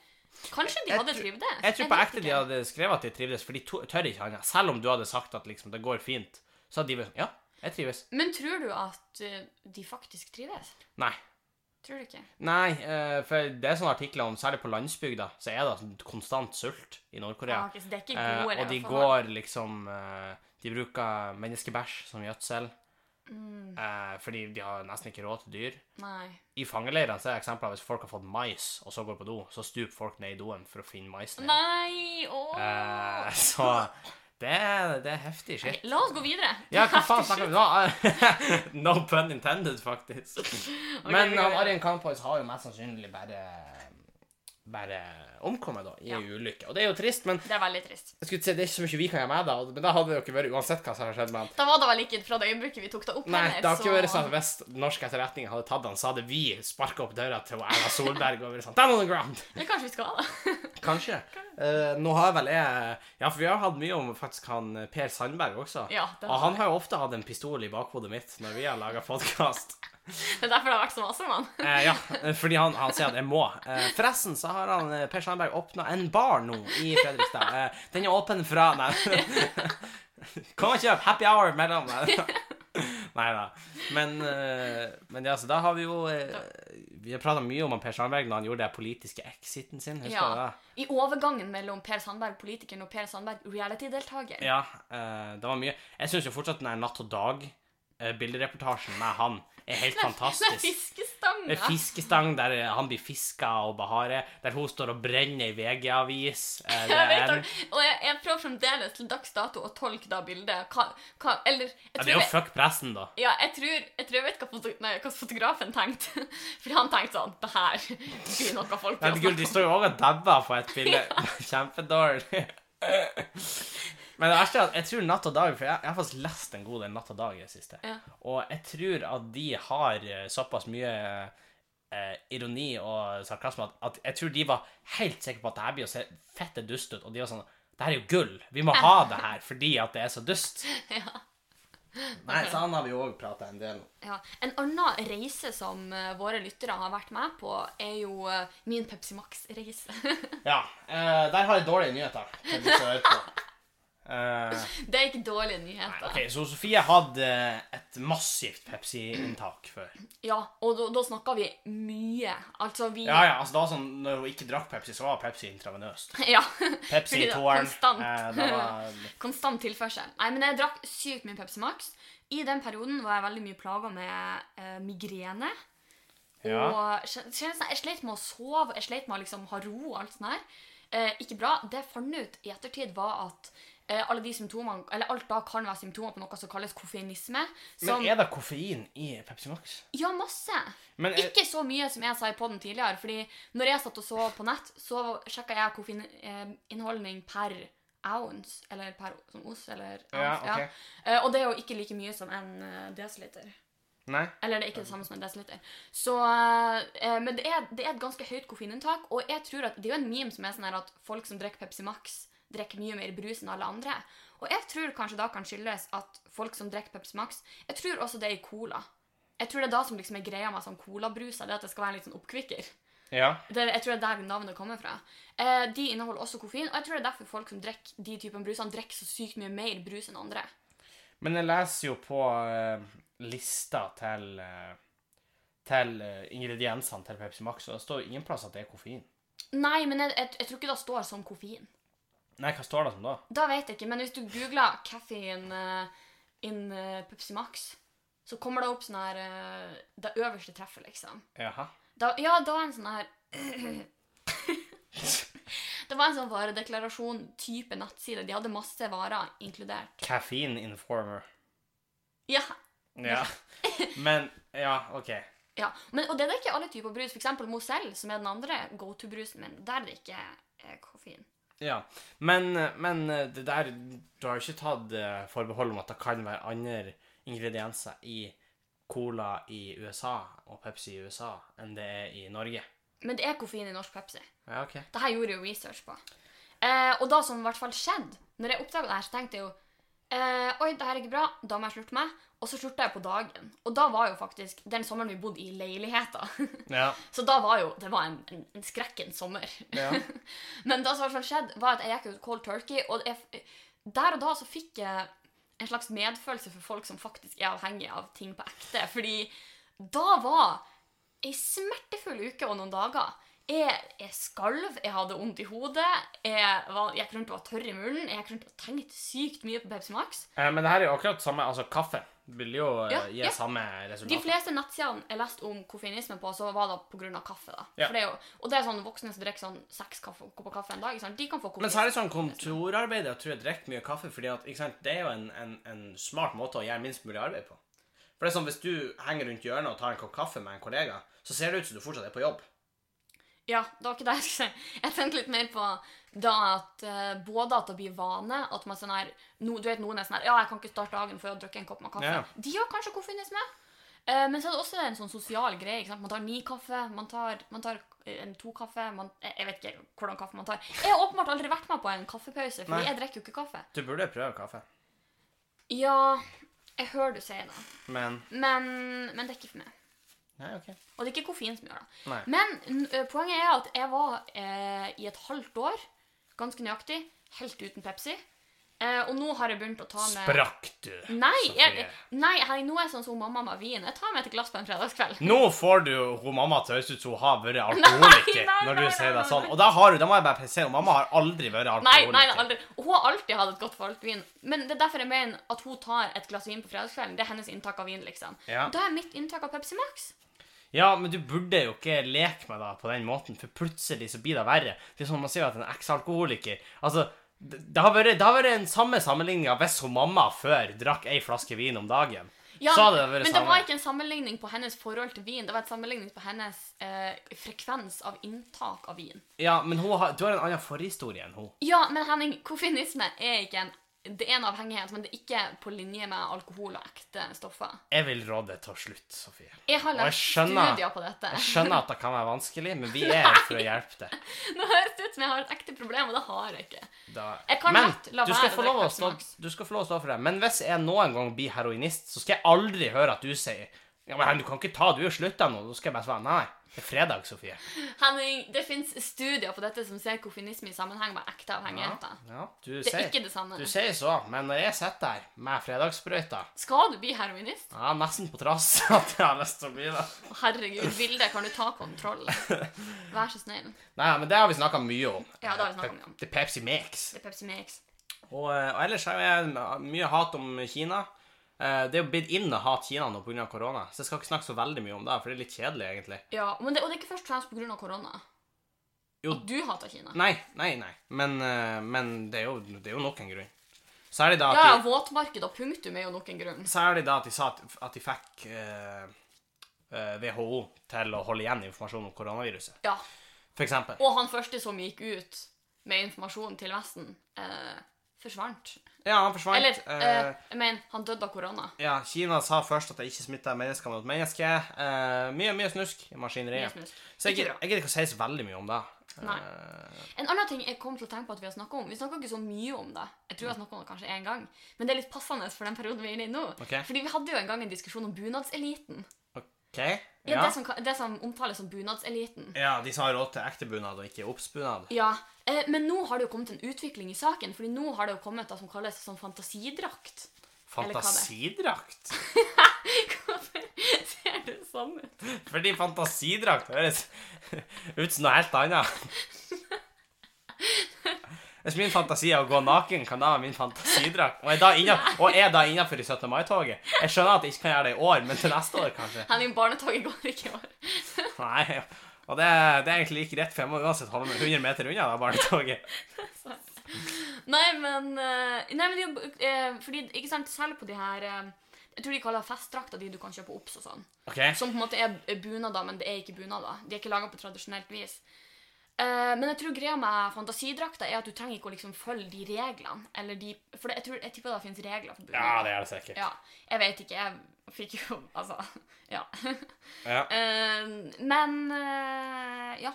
Kanskje de
Jeg
hadde
tror-
trivdes?
Jeg tror på
vet
ekte de
ikke.
hadde skrevet at de trivdes, for de to- tør ikke annet. Selv om du hadde sagt at liksom, det går fint, så hadde de vært sånn Ja, jeg trives.
Men tror du at eh, de faktisk trives?
Nei.
Tror du ikke?
Nei, eh, for det er sånne artikler om, særlig på landsbygda, så er det sånn konstant sult i
Ah,
Nord-Korea.
ok, så det er ikke
Eh,
gode
og de
forhold.
går liksom eh, De bruker menneskebæsj som gjødsel,
Mm,
eh, fordi de har nesten ikke råd til dyr.
nei.
I fangeleirene så er det eksempler hvis folk har fått mais, og så går på do, så stuper folk ned i doen for å finne maisen. igjen.
Nei! Åh!
Eh, så det er, det er heftig shit.
Ok, La oss gå videre.
Ja, hva faen
[LAUGHS]
snakker vi nå? [LAUGHS] no pun intended, faktisk.
Ok,
Men
vi går
han
videre.
Arjen Kampois har jo mest sannsynlig bare bare omkommet da, i
Ja.
en ulykke. Og det er jo trist, men
Det er veldig trist.
jeg skulle si, det er ikke så mye vi kan gjøre med det. og- Men da hadde det jo ikke vært uansett hva som hadde skjedd med han.
Da var det vel ikke fra det øyeblikket vi tok det opp
Nei,
heller,
det har ikke
så-
vært sånn at hvis norsk etterretning hadde tatt han, så hadde vi sparket opp døra til Erna Solberg og vært sånn Down on the ground!
Men kanskje vi skal ha det.
Kanskje. Eh, nå har vel jeg Ja, for vi har hatt mye om faktisk han eh, Per Sandberg også.
Ja, det,
Og han har jo ofte hatt en pistol i bakhodet mitt når vi har laga podkast.
det er [LAUGHS] derfor det har vært så masse om han.
Eh, ja, eh, fordi han, han sier at jeg må. Eh, forresten så har han eh, Per Sandberg åpna en bar nå i Fredrikstad. Eh, den er åpen fra Nei. [LAUGHS] Kom og kjøp happy hour mellom [LAUGHS] Nei da. Men, eh, men ja, så da har vi jo eh, Vi har prata mye om han Per Sandberg når han gjorde den politiske exiten sin, husker
Ja.
du det?
I overgangen mellom Per Sandberg, politikeren, og Per Sandberg, reality-deltaker.
Ja, eh, det var mye. Jeg syns jo fortsatt den der Natt og Dag-bildereportasjen med han er helt
Med
fantastisk.
fiskestanga.
En fiskestang der eh, han blir fiska og Bahare, der hun står og brenner i VG-avis.
[LAUGHS]
Eh, det
[LAUGHS] Jeg vet,
er en-
aldri- og jeg, jeg prøver fremdeles til dags dato å tolke da bildet. Hva, hva, eller jeg
Ja,
tror,
det er jo
jeg,
fuck pressen, da.
ja, jeg, tror, jeg tror jeg vet hva, foto, nei, hva fotografen tenkte. [LAUGHS] For han tenkte sånn Det her blir noe folk
Nei,
blir å
Gud, de
snakke om.
står jo over og dabber på et bilde. [LAUGHS] Kjempedårlig. [LAUGHS] Men det verste er at jeg tror Natt og Dag For jeg, jeg har faktisk lest en god del Natt og Dag i det siste.
Ja.
Og jeg tror at de har eh, såpass mye eh, ironi og sarkasme at, at jeg tror de var helt sikre på at det her blir å se fette dust ut. Og de var sånn Det her er jo gull. Vi må ha det her fordi at det er så dust. Nei, så han har vi jo òg prata en del om.
Ja. En annen reise som eh, våre lyttere har vært med på, er jo eh, min Pepsi Max-reise. [LAUGHS]
Ja. eh, der har jeg dårlige nyheter. Til de som hører på. Eh,
det er ikke dårlige nyheter.
Ok, så Sofie hadde eh, et massivt Pepsi-inntak før.
Ja, Og da, da snakka vi mye. Altså, vi
Ja, ja, altså da sånn, Når hun ikke drakk Pepsi, så var Pepsi intravenøst.
[LAUGHS] Ja.
Pepsi i
Fordi det er
toeren.
konstant.
Eh, det
[LAUGHS]
var
Konstant tilførsel. Nei, men jeg drakk sykt mye Pepsi Max. I den perioden var jeg veldig mye plaga med eh, migrene.
Ja.
Og kjen- kjennes det- jeg slet med å sove, jeg slet med å liksom ha ro og alt sånt her. Eh, ikke bra. Det jeg fant ut i ettertid, var at eh, alle de symptomene, eller alt da kan være symptomer på noe som kalles koffeinisme. Som,
Men er det koffein i Pepsi Max?
Ja, masse!
Men eh,
Ikke så mye som jeg sa i podden tidligere, fordi når jeg satt og så på nett, så sjekka jeg koffeininnholdning per ounce, eller per sånn ost, eller ounce,
Ja, ok.
Eh, Og det er jo ikke like mye som en eh, desiliter.
Nei?
Eller det er ikke det samme som en desiliter. Så, eh, men det er, det er et ganske høyt koffeininntak, og jeg tror at det er jo en meme som er sånn her at folk som drikker Pepsi Max, drikker mye mer brus enn alle andre. Og jeg tror kanskje da kan skyldes at folk som drikker Pepsi Max Jeg tror også det er i cola. Jeg tror det er da som liksom er greia med sånn colabruser, det er at det skal være en litt sånn oppkvikker.
Ja.
Det, jeg tror det er der navnet kommer fra. Eh, de inneholder også koffein, og jeg tror det er derfor folk som drikker de typen brusene, drikker så sykt mye mer brus enn andre.
Men jeg leser jo på eh, lista til eh, til eh, ingrediensene til Pepsi Max, og det står ingen plass at det er koffein.
Nei, men jeg, jeg, jeg tror ikke det står som koffein.
Nei, hva står det som da?
Da vet jeg ikke, men hvis du googler 'caffeine eh, in eh, Pepsi Max', så kommer det opp sånn her eh, Det øverste treffet, liksom.
Jaha.
Da, ja, da er en sånn her [LAUGHS] Det var en sånn varedeklarasjon-type nettside. De hadde masse varer inkludert.
Caffeine informer.
Ja,
Ja. [LAUGHS] Men Ja, OK.
ja. Men, Og det er det ikke alle typer brus. For eksempel Mozell, som er den andre go to-brusen min. Der er det ikke eh, koffein.
Ja, men, men eh, det der Du har jo ikke tatt eh, forbehold om at det kan være andre ingredienser i cola i USA og Pepsi i USA enn det er i Norge.
Men det er koffein i norsk Pepsi.
Ja, OK.
Det her gjorde jeg jo research på. Eh, og da som i hvert fall skjedde, når jeg oppdaga det her, så tenkte jeg jo eh, Oi, det her er ikke bra, da må jeg slutte meg. Og så slutta jeg på dagen. Og da var jo faktisk den sommeren vi bodde i leiligheter.
Ja.
[LAUGHS] så da var jo Det var en, en, en skrekkens sommer.
ja.
Men det som i hvert fall skjedde, var at jeg gikk ut cold turkey, og jeg, der og da så fikk jeg en slags medfølelse for folk som faktisk er avhengige av ting på ekte. Fordi da var ei smertefull uke og noen dager. Jeg, jeg skalv, jeg hadde vondt i hodet, jeg, var, jeg gikk rundt og var tørr i munnen, jeg gikk rundt og tenkte sykt mye på Pepsi Max.
Eh, men det her er jo akkurat samme Altså, kaffe vil jo eh,
Ja,
gi
ja.
samme
De
resultat.
fleste nettsidene jeg leste om koffeinisme på, så var det pga. kaffe. da.
Ja.
For det er jo, og det er sånn voksne som drikker sånn seks kaffe, kopper kaffe en dag. ikke sant? De kan få
Men
koffein.
særlig sånn kontorarbeidere tror jeg drikker mye kaffe, fordi at, ikke sant, det er jo en, en, en smart måte å gjøre minst mulig arbeid på. For det er sånn, Hvis du henger rundt hjørnet og tar en kopp kaffe med en kollega, så ser det ut som du fortsatt er på jobb.
Ja, det var ikke det jeg skulle si. Jeg tenkte litt mer på da at eh, både at det blir vane at man sånn her, no, Du vet noen er sånn her Ja, jeg kan ikke starte dagen før jeg har drukket en kopp med kaffe.
Ja.
De har kanskje koffeinisme. Eh, men så er det også en sånn sosial greie. ikke sant? Man tar ni kaffe, man tar, man tar eh, en to kaffe man, jeg, jeg vet ikke hvordan kaffe man tar. Jeg har åpenbart aldri vært med på en kaffepause, fordi
Nei.
jeg drikker jo ikke kaffe.
Du burde prøve kaffe,
Ja, jeg hører du sier det,
men
men, men det er ikke for meg.
Nei, OK.
Og det er ikke koffein som gjør det.
Nei.
Men n- ø, poenget er at jeg var eh, i et halvt år, ganske nøyaktig, helt uten Pepsi. Eh, og nå har jeg begynt å ta med
Sprakk du,
Nei, jeg,
Sofie?
nei hei, nå er jeg sånn som mamma med vin. Jeg tar med et glass på en fredagskveld.
Nå får du hun mamma til å høres ut som hun har vært alkoholiker.
[LAUGHS] Nei, nei,
når du
nei,
sier
nei,
det
nei,
sånn.
nei.
Og da, har du, da må jeg bare presisere, hun mamma har aldri vært
Nei,
alkoholiker.
nei, aldri. Og Hun har alltid hatt et godt forhold til vin. Men det er derfor jeg mener at hun tar et glass vin på fredagskvelden. Det er hennes inntak av vin, liksom.
Ja.
Da er mitt inntak av Pepsi Max.
Ja, men du burde jo ikke leke med deg på den måten, for plutselig så blir det verre. Det er sånn man sier at en eksalkoholiker Altså, det, det har vært, det har vært den samme sammenligninga hvis hun mamma før drakk ei flaske vin om dagen.
Ja,
så hadde det vært
men det
samme.
var ikke en sammenligning på hennes forhold til vin. Det var et sammenligning på hennes eh, frekvens av inntak av vin.
Ja, men hun har, du har en annen forhistorie enn hun.
Ja, men Henning, koffeinisme er ikke en Det er en avhengighet, men det er ikke på linje med alkohol og ekte stoffer.
Jeg vil råde til slutt, Sofie.
Jeg har
Og jeg
lest
skjønner-
studier på dette.
Jeg skjønner at det kan være vanskelig, men vi er her for å hjelpe deg.
Nå høres [LAUGHS] det ut som jeg har et ekte problem, og det har jeg ikke.
Da-
Jeg kan
men
lett la
du skal,
være å
få lov å
drikke Pepsi
stå,
Max.
du skal få lov å stå for det. Men hvis jeg noen gang blir heroinist, så skal jeg aldri høre at du sier Ja, men du kan ikke ta, du har slutta nå. Da skal jeg bare svare nei. Det er fredag, Sofie.
Henning, det fins studier på dette som ser koffeinisme i sammenheng med ekte avhengigheter.
ja, du
Det er
sier-
ikke det samme.
Du sier så, men når jeg sitter her med fredagssprøyta
Skal du bli heroinist?
ja, Nesten på trass [LAUGHS] at jeg har lyst til å bli det. [LAUGHS]
Herregud, Vilde, kan du ta kontroll? Vær så snill.
Nei, men det har vi snakka mye om.
Ja, det har vi snakket mye
[LAUGHS]
om.
Det er Pepsi Mix.
Det er Pepsi Max.
Og, eh, og ellers er det mye hat om Kina. Eh, Det er jo blitt inn å hate Kina nå pga. korona, så jeg skal ikke snakke så veldig mye om det, for det er litt kjedelig, egentlig.
Ja, men det, Og det er ikke først og fremst pga. korona.
Jo.
At du hater Kina.
Nei, nei, nei. Men, eh, men det, er jo, det er jo nok en grunn. Særlig da at,
Ja, altså- ja,
de,
våtmarked og punktum er jo nok en grunn.
særlig da at de sa at, at de fikk eh, eh, WHO til å holde igjen informasjon om koronaviruset,
Ja,
for eksempel.
Og han første som gikk ut med informasjon til Vesten, eh, forsvant.
Ja, han forsvant.
Eller, eh,
eh,
jeg mener, han døde av korona.
ja, Kina sa først at det ikke smitta mennesker mot mennesker. Eh, mye, mye snusk i
Mye
maskineriet.
snusk.
Så jeg
Ikke
gidder
bra.
jeg gidder ikke å si så veldig mye om det.
Nei.
Eh,
En annen ting jeg kom til å tenke på at vi har snakket om, vi snakket ikke så mye om det, jeg tror jeg snakket om det kanskje en gang, men det er litt passende for den perioden vi er inne i nå.
Ok.
Fordi vi hadde jo en gang en diskusjon om bunadseliten.
OK?
Ja,
Ja.
Det, som, det som omtales som bunadseliten.
ja, de som har råd til ekte bunad og ikke obsbunad.
Ja, eh, men nå har det jo kommet en utvikling i saken, fordi nå har det jo kommet det som kalles sånn fantasidrakt. [LAUGHS] Eller hva det er.
Fantasidrakt?
Hvorfor ser du sånn ut?
Fordi fantasidrakt høres ut som noe helt annet. Hvis min fantasi er å gå naken, kan det være min fantasidrakt. Og er da inna- og er da innafor i 17. mai-toget. Jeg skjønner at jeg ikke kan gjøre det i år, men til neste år kanskje.
Henning, barnetoget går ikke i år.
Nei, og det, det er egentlig like rett, for jeg må uansett holde meg 100 meter unna det barnetoget.
Nei, men, eh, nei, men det er jo, eh, fordi, ikke sant, selv på de her eh, Jeg tror de kaller festdrakter de du kan kjøpe på OBS og sånn.
Ok,
Som på en måte er bunader, men det er ikke bunader. De er ikke laga på tradisjonelt vis. Eh, men jeg tror greia med fantasidrakter er at du trenger ikke å liksom følge de reglene. Eller de, for det, jeg, tror, jeg tipper det finnes regler for
Ja,
bunader.
det er det sikkert.
Ja, jeg vet ikke. Jeg fikk jo Altså, ja. [LAUGHS]
Ja.
Eh, men eh, ja.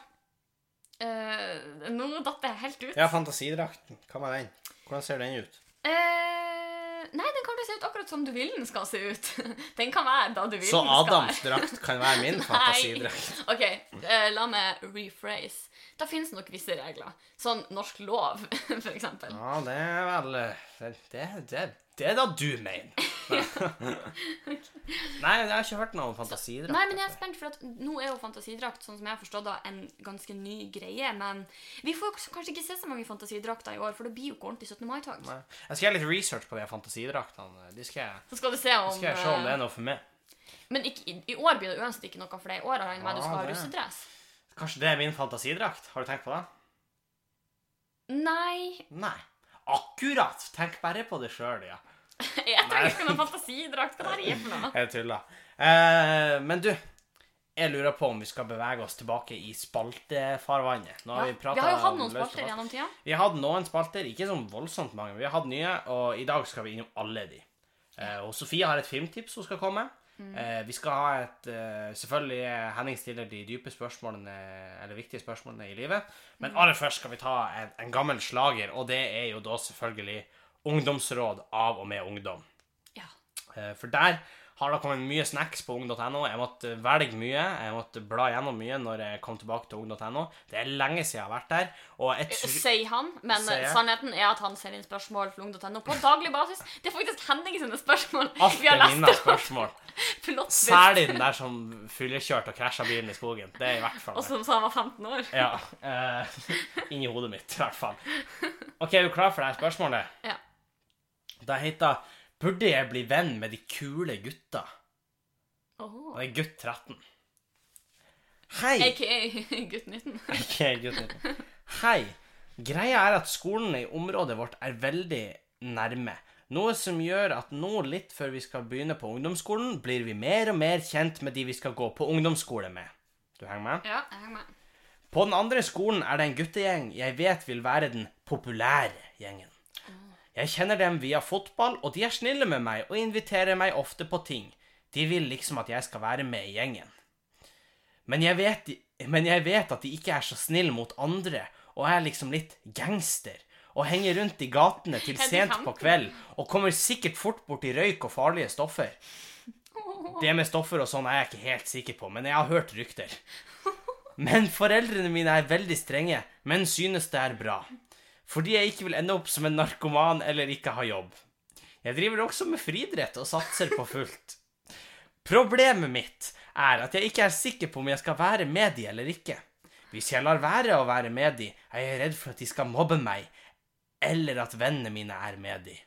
Eh, nå datt jeg helt ut.
ja, fantasidrakten. Hva med den? Hvordan ser den ut?
Eh, nei, den kan bli se ut akkurat som du vil den skal se ut. [LAUGHS] Den kan være da du vil
Så
den skal være.
Adams drakt kan være min fantasidrakt.
Nei. OK, eh, la meg rephrase. Da finnes nok visse regler. Sånn norsk lov, [LAUGHS] for eksempel. [LAUGHS]
Ja, det er vel Det, det, det, det er da du mener. Nei, jeg har ikke hørt noe om fantasidrakt.
Nei, men jeg er
etter.
spent, for at nå er jo fantasidrakt sånn som jeg har forstått da, en ganske ny greie. Men vi får jo kanskje ikke se så mange fantasidrakter i år, for det blir jo ikke ordentlig 17. mai-tog.
Nei. Jeg skal gjøre litt research på de fantasidraktene. De skal jeg,
Så skal du se om,
de skal jeg se om det
eh,
er noe for meg.
Men ikke, i, i år blir det uansett ikke noe for deg. I år regner jeg med at du skal
Ah,
ha
det.
russedress.
Kanskje det er min fantasidrakt? Har du tenkt på det?
Nei, [LAUGHS]
Nei. Akkurat! Tenk bare på det sjøl, ja.
jeg
Nei.
trenger ikke noen fantasidrakt. Hva er det her for noe?
Jeg tuller. Eh, men du, jeg lurer på om vi skal bevege oss tilbake i spaltefarvannet. Nå
Ja,
har vi, pratet
vi har jo hatt
om
noen
løst og
spalter
fast.
gjennom tida.
Vi har hatt noen spalter, ikke sånn voldsomt mange, men vi har hatt nye, og i dag skal vi innom alle de. Eh, og Sofie har et filmtips hun skal komme. Eh, vi skal ha et eh, Selvfølgelig eh, Henning stiller de dype spørsmålene, eller viktige spørsmålene i livet. Men aller først skal vi ta en, en gammel slager, og det er jo da selvfølgelig Ungdomsråd av og med ungdom.
Ja.
Eh, For der har det kommet mye snacks på ung.no. Jeg måtte velge mye. Jeg måtte bla gjennom mye når jeg kom tilbake til ung.no. Det er lenge siden jeg har vært der. Og
Eh,
jeg tror
Sier han, men
Sier jeg.
sannheten er at han ser inn spørsmål fra ung.no på daglig basis. Det er faktisk Henning sine spørsmål
alt er mine
[LAUGHS]
spørsmål.
Flott twist.
Særlig den der som fyllekjørte og krasja bilen i skogen. Det er i hvert fall
Og
meg.
som sa han var 15 år.
Ja. Eh, [LAUGHS] inni hodet mitt, i hvert fall. OK, er du klar for det her spørsmålet?
Ja.
Det heter 'Burde jeg bli venn med de kule gutta?'
Åh.
Og det er gutt 13. Hei!
[LAUGHS] A.k.a. gutt 19.
Ok, gutt nitten. Hei. Greia er at skolen i området vårt er veldig nærme. Noe som gjør at nå litt før vi skal begynne på ungdomsskolen, blir vi mer og mer kjent med de vi skal gå på ungdomsskole med. Du henger med?
Ja, jeg henger med.
På den andre skolen er det en guttegjeng jeg vet vil være den populære gjengen. Jeg kjenner dem via fotball, og de er snille med meg og inviterer meg ofte på ting. De vil liksom at jeg skal være med i gjengen. Men jeg vet, de- men jeg vet at de ikke er så snille mot andre, og er liksom litt gangster. Og henger rundt i gatene til
de
sent på
femten?
kveld, og kommer sikkert fort borti røyk og farlige stoffer.
Åh.
Det med stoffer og sånn er jeg ikke helt sikker på, men jeg har hørt rykter. Men foreldrene mine er veldig strenge, men synes det er bra. Fordi jeg ikke vil ende opp som en narkoman eller ikke ha jobb. Jeg driver også med friidrett og satser på fullt. Problemet mitt er at jeg ikke er sikker på om jeg skal være med de eller ikke. Hvis jeg lar være å være med de, er jeg redd for at de skal mobbe meg, eller at vennene mine er med de.
[LAUGHS]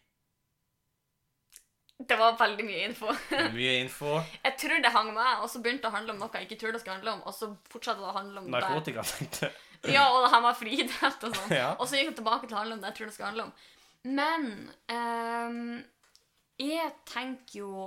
Det var veldig mye info.
Mye [LAUGHS] info.
Jeg tror det hang med, og så begynte det å handle om noe jeg ikke trodde det skulle handle om, og så fortsatte det å handle om det.
Narkotika, tenkte jeg.
Ja, og det her med friidrett og sånn.
[LAUGHS] Ja.
Og så gikk det tilbake til å handle om det jeg tror det skal handle om. Men ehm, jeg tenker jo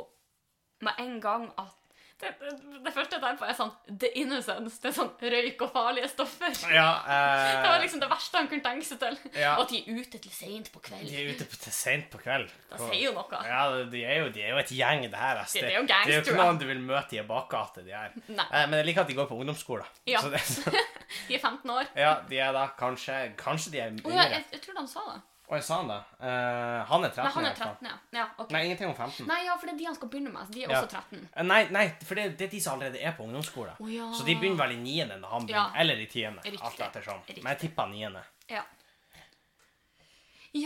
med en gang at det, det, det første jeg tenker på, er sånn The Innocence. Det er sånn røyk og farlige stoffer.
Ja,
[LAUGHS] Det
eh,
var liksom det verste han kunne tenke seg til.
Ja.
Og at de er ute til seint på kveld.
De er ute på, til sent på kveld.
Det sier jo noe.
Ja, de er jo, de er jo et gjeng, det her. ass.
Det- det er
Det er
jo
jo
gangster,
ikke noen du vil møte i en bakgate, de her.
Nei.
Eh, men jeg liker at de går på ungdomsskolen.
Ja.
Så det,
[LAUGHS] De er 15 år.
ja, de er da kanskje Kanskje de er
Å ja,
yngre.
jeg, jeg tror han sa det.
Oi, sa han det? Eh, han er 13.
Nei, han
i
er
hvert fall.
13, ja. ja ok.
Nei, ingenting om 15.
Nei, ja, for det er de han skal begynne med. Så de er
Ja.
også 13.
Eh, Nei, nei, for det, det er de som allerede er på ungdomsskolen.
Å ja.
Så de begynner vel i 9. når han
Ja.
begynner. Eller i 10.
Riktig.
Alt ettersom.
Riktig.
Men jeg tipper 9.
Ja.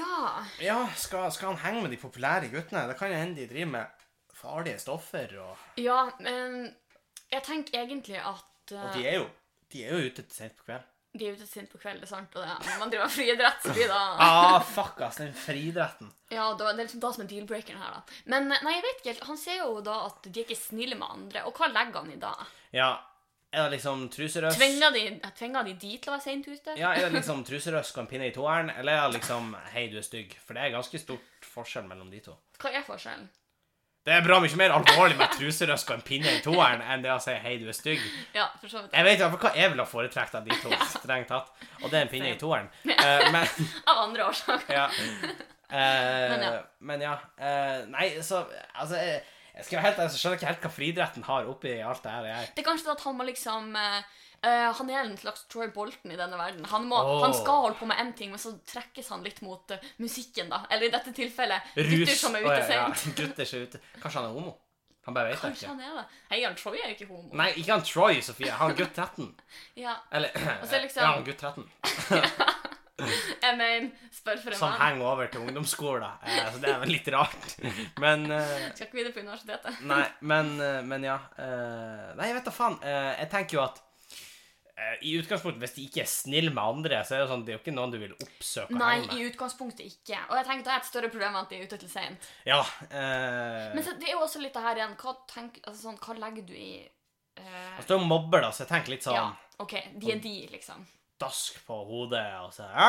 ja.
Ja, skal, skal han henge med de populære guttene? Det kan jo hende de driver med farlige stoffer og
Ja, men jeg tenker egentlig at
Og
eh,
de er jo, de er jo ute til sent på kveld.
de er ute sent på kveld, det er sant, og det, når man driver med friidrett, så blir det
Ah, fuck, ass. Den friidretten.
Ja, da- det er liksom det som er deal-breakeren her, da. Men eh, nei, jeg vet ikke helt. Han sier jo da at de er ikke snille med andre, og hva legger han i da?
Ja. Er det liksom truserøs?
Tvinger de, tvinger de de til å være seint ute?
Ja, er det liksom truserøs og en pinne i toeren, eller er det liksom hei, du er stygg? For det er ganske stort forskjell mellom de to.
Hva er forskjellen?
Det er bra mye mer alvorlig med truserøs og en pinne i toeren enn det å si hei, du er stygg.
Ja, for så vidt.
Jeg vet i hvert fall hva jeg ville ha foretrekt av de to, strengt tatt. Og det er en pinne i
[LAUGHS]
toeren. Eh, men
Av andre årsaker.
Ja. Eh,
Men ja.
men ja. eh, nei, så Altså, jeg, jeg skal være helt ærlig, så skjønner jeg ikke helt hva friidretten har oppi alt det her. Jeg.
Det er kanskje det at han må liksom eh, eh, Han er en slags Troy Bolton i denne verden. Han, må,
Åh.
han skal holde på med én ting, men så trekkes han litt mot eh, musikken, da. Eller i dette tilfellet gutter som er
Å,
ute
ja, ja,
sent.
Gutter som er ute. Kanskje han er homo? Han bare vet det
Kanskje
ikke.
han er det. Hei, han Troy er jo ikke homo.
Nei, ikke han Troy, Sofie. Han gutt 13.
Ja.
Eller [CLEARS THROAT]
så liksom-
Ja, han gutt 13.
Jeg mener, spør for en
som
venn.
henger over til ungdomsskolen. Eh, så det er vel litt rart. Men eh,
Skal ikke videre på universitetet.
Nei, men, eh, men ja. eh, Nei, jeg vet da faen. Eh, Jeg tenker jo at eh, i utgangspunktet, hvis de ikke er snille med andre, så er det jo sånn, det er jo ikke noen du vil oppsøke og
Nei,
henge med.
i utgangspunktet ikke. Og jeg tenker det er et større problem enn at de er ute til seint.
Ja, eh,
Men så, det er jo også litt det her igjen. Hva, tenk, altså, sånn, hva legger du i eh,
altså, du er jo mobber, da, så jeg tenker litt sånn
Ja, OK. De er de, liksom.
dask på hodet og så Hæ?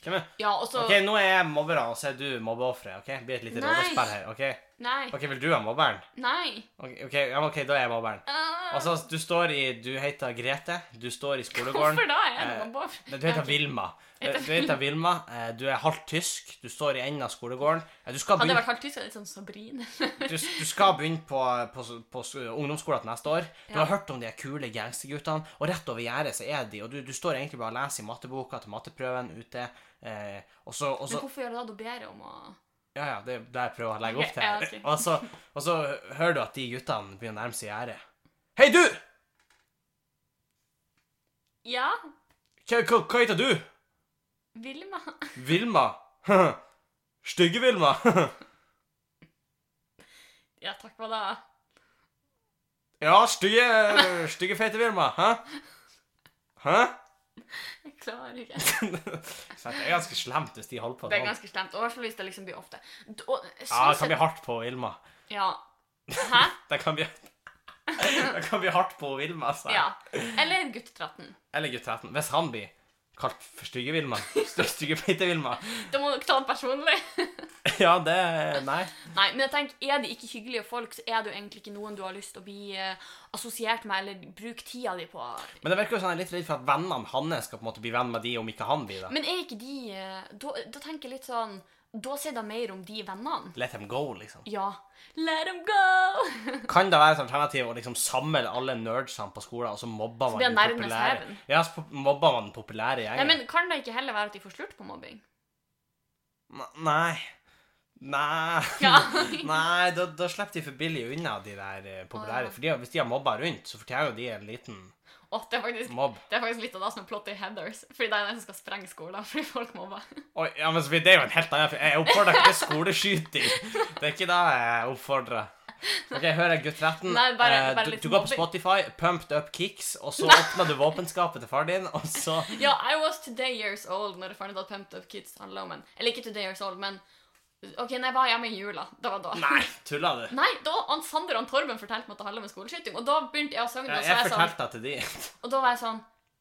Hvem er
Ja, og så
OK, nå er jeg mobberen, og så er du mobbeofferet. OK? Det blir et lite
Nei.
rådesperr her. OK,
Nei.
Ok, vil du være mobberen?
Nei.
OK, ok, ja, men ok, da er jeg mobberen.
Ah,
Altså, du står i Du heter Grete. Du står i skolegården.
hvorfor da? Jeg er
eh,
noen barn.
Nei, Du heter Vilma. Du
Heter-
heter Vilma. eh, Du er halvt tysk. Du står i enden av skolegården. Eh, Du skal
Hadde jeg
begynne,
vært halvt tysker, litt sånn [LAUGHS] Sabrine.
du, du skal begynne på, på, på s- ungdomsskolen til neste år. Du
Ja.
har hørt om de kule gangsterguttene, og rett over gjerdet så er de. Og du, du står egentlig bare og leser i matteboka til matteprøven ute. eh, og så, og
Men
så
hvorfor gjør du da? Da ber jeg om å
Ja, ja, det er det jeg prøver å legge opp til.
Ja, ok.
og, så, og så hører du at de guttene begynner å nærme seg gjerdet. Hei, du!
Ja,
Hva, hva, hva heter du?
Vilma.
Vilma. [LAUGHS] Stygge Vilma. [LAUGHS]
[LAUGHS] Ja, takk, hva da?
Ja, stygge, stygge feite Vilma. Hæ? Hæ? [LAUGHS]
Jeg klarer ikke.
Så det er ganske slemt hvis de holder på
Det er
sånn.
ganske slemt. Og i hvert fall hvis det liksom blir ofte. D- Og,
Ja,
sånn
det kan
sett-
bli hardt på Vilma.
ja.
[LAUGHS]
Hæ?
Det kan bli, det kan bli hardt på Vilma, altså.
Ja. Eller guttetratten.
Eller gutt 13. Hvis han blir kalt for stygge Vilma, [LAUGHS] st- stygge feite Vilma [LAUGHS]
Da må dere ta den personlig. [LAUGHS]
Ja, det Nei.
Nei, men jeg tenker, er de ikke hyggelige folk, så er det jo egentlig ikke noen du har lyst til å bli eh, assosiert med, eller bruke tida di på.
Men det virker jo som han er litt redd for at vennene hans skal på en måte bli venn med de, om ikke han blir det.
Men er ikke de eh, Da, da tenker jeg litt sånn Da sier de mer om de vennene.
Let them go, liksom.
Ja. Let them go!
Kan det være et alternativ å liksom samle alle nerdsene på skolen, og så mobber man
blir
den
nerdene
populære?
heaven.
Ja, så pop- mobber man den populære
Nei,
gjengen?
men kan det ikke heller være at de får slurt på mobbing?
Ne- Nei. Nei.
Ja.
[LAUGHS] Nei, da, da slipper de for billig unna de der eh,
Å,
populære.
ja.
For de, har- hvis de har mobba rundt, så fortjener jo de en liten
Åh, det er faktisk
mobb.
Det er faktisk litt av det som er plottet i Heathers. Fordi det er den som skal sprenge skolen [LAUGHS] fordi folk mobber.
Oi, ja, men så blir det jo en helt annen for Jeg oppfordrer ikke til skoleskyting. Det er ikke det jeg oppfordrer. OK, hører jeg gutt 13.
Nei, bare-
Eh,
bare
du,
litt
du går på
mobbing.
Spotify, pumped up kicks, og så åpner du våpenskapet til faren din, og så
Ja, I was today years old når jeg fant ut at Pumped Up Kids handla om en Eller ikke today years old, men OK, nei, jeg var hjemme i jula. Det var da.
Nei, tuller du?
Nei, da han Sander og han Torben fortalte meg at det handla om en skoleskyting, og da begynte jeg å synge
Ja,
det, og så
jeg
var jeg sånn,
fortalte det til de.
og da var jeg sånn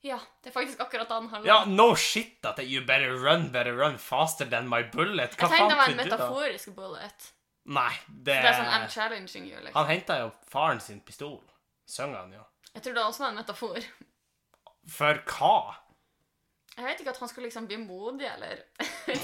Ja, det er faktisk akkurat det den handler
Ja,
om.
no shit at det- you better run, better run faster than my bullet. Hva
Jeg tenkte det var en
trodde du da?
metaforisk bullet.
Nei, det,
Det er sånn I'm challenging you, liksom.
Han henta jo faren sin pistol. Søng han jo.
Jeg tror det også var en metafor.
For hva?
Jeg vet ikke at han skulle liksom bli modig, eller
Eh.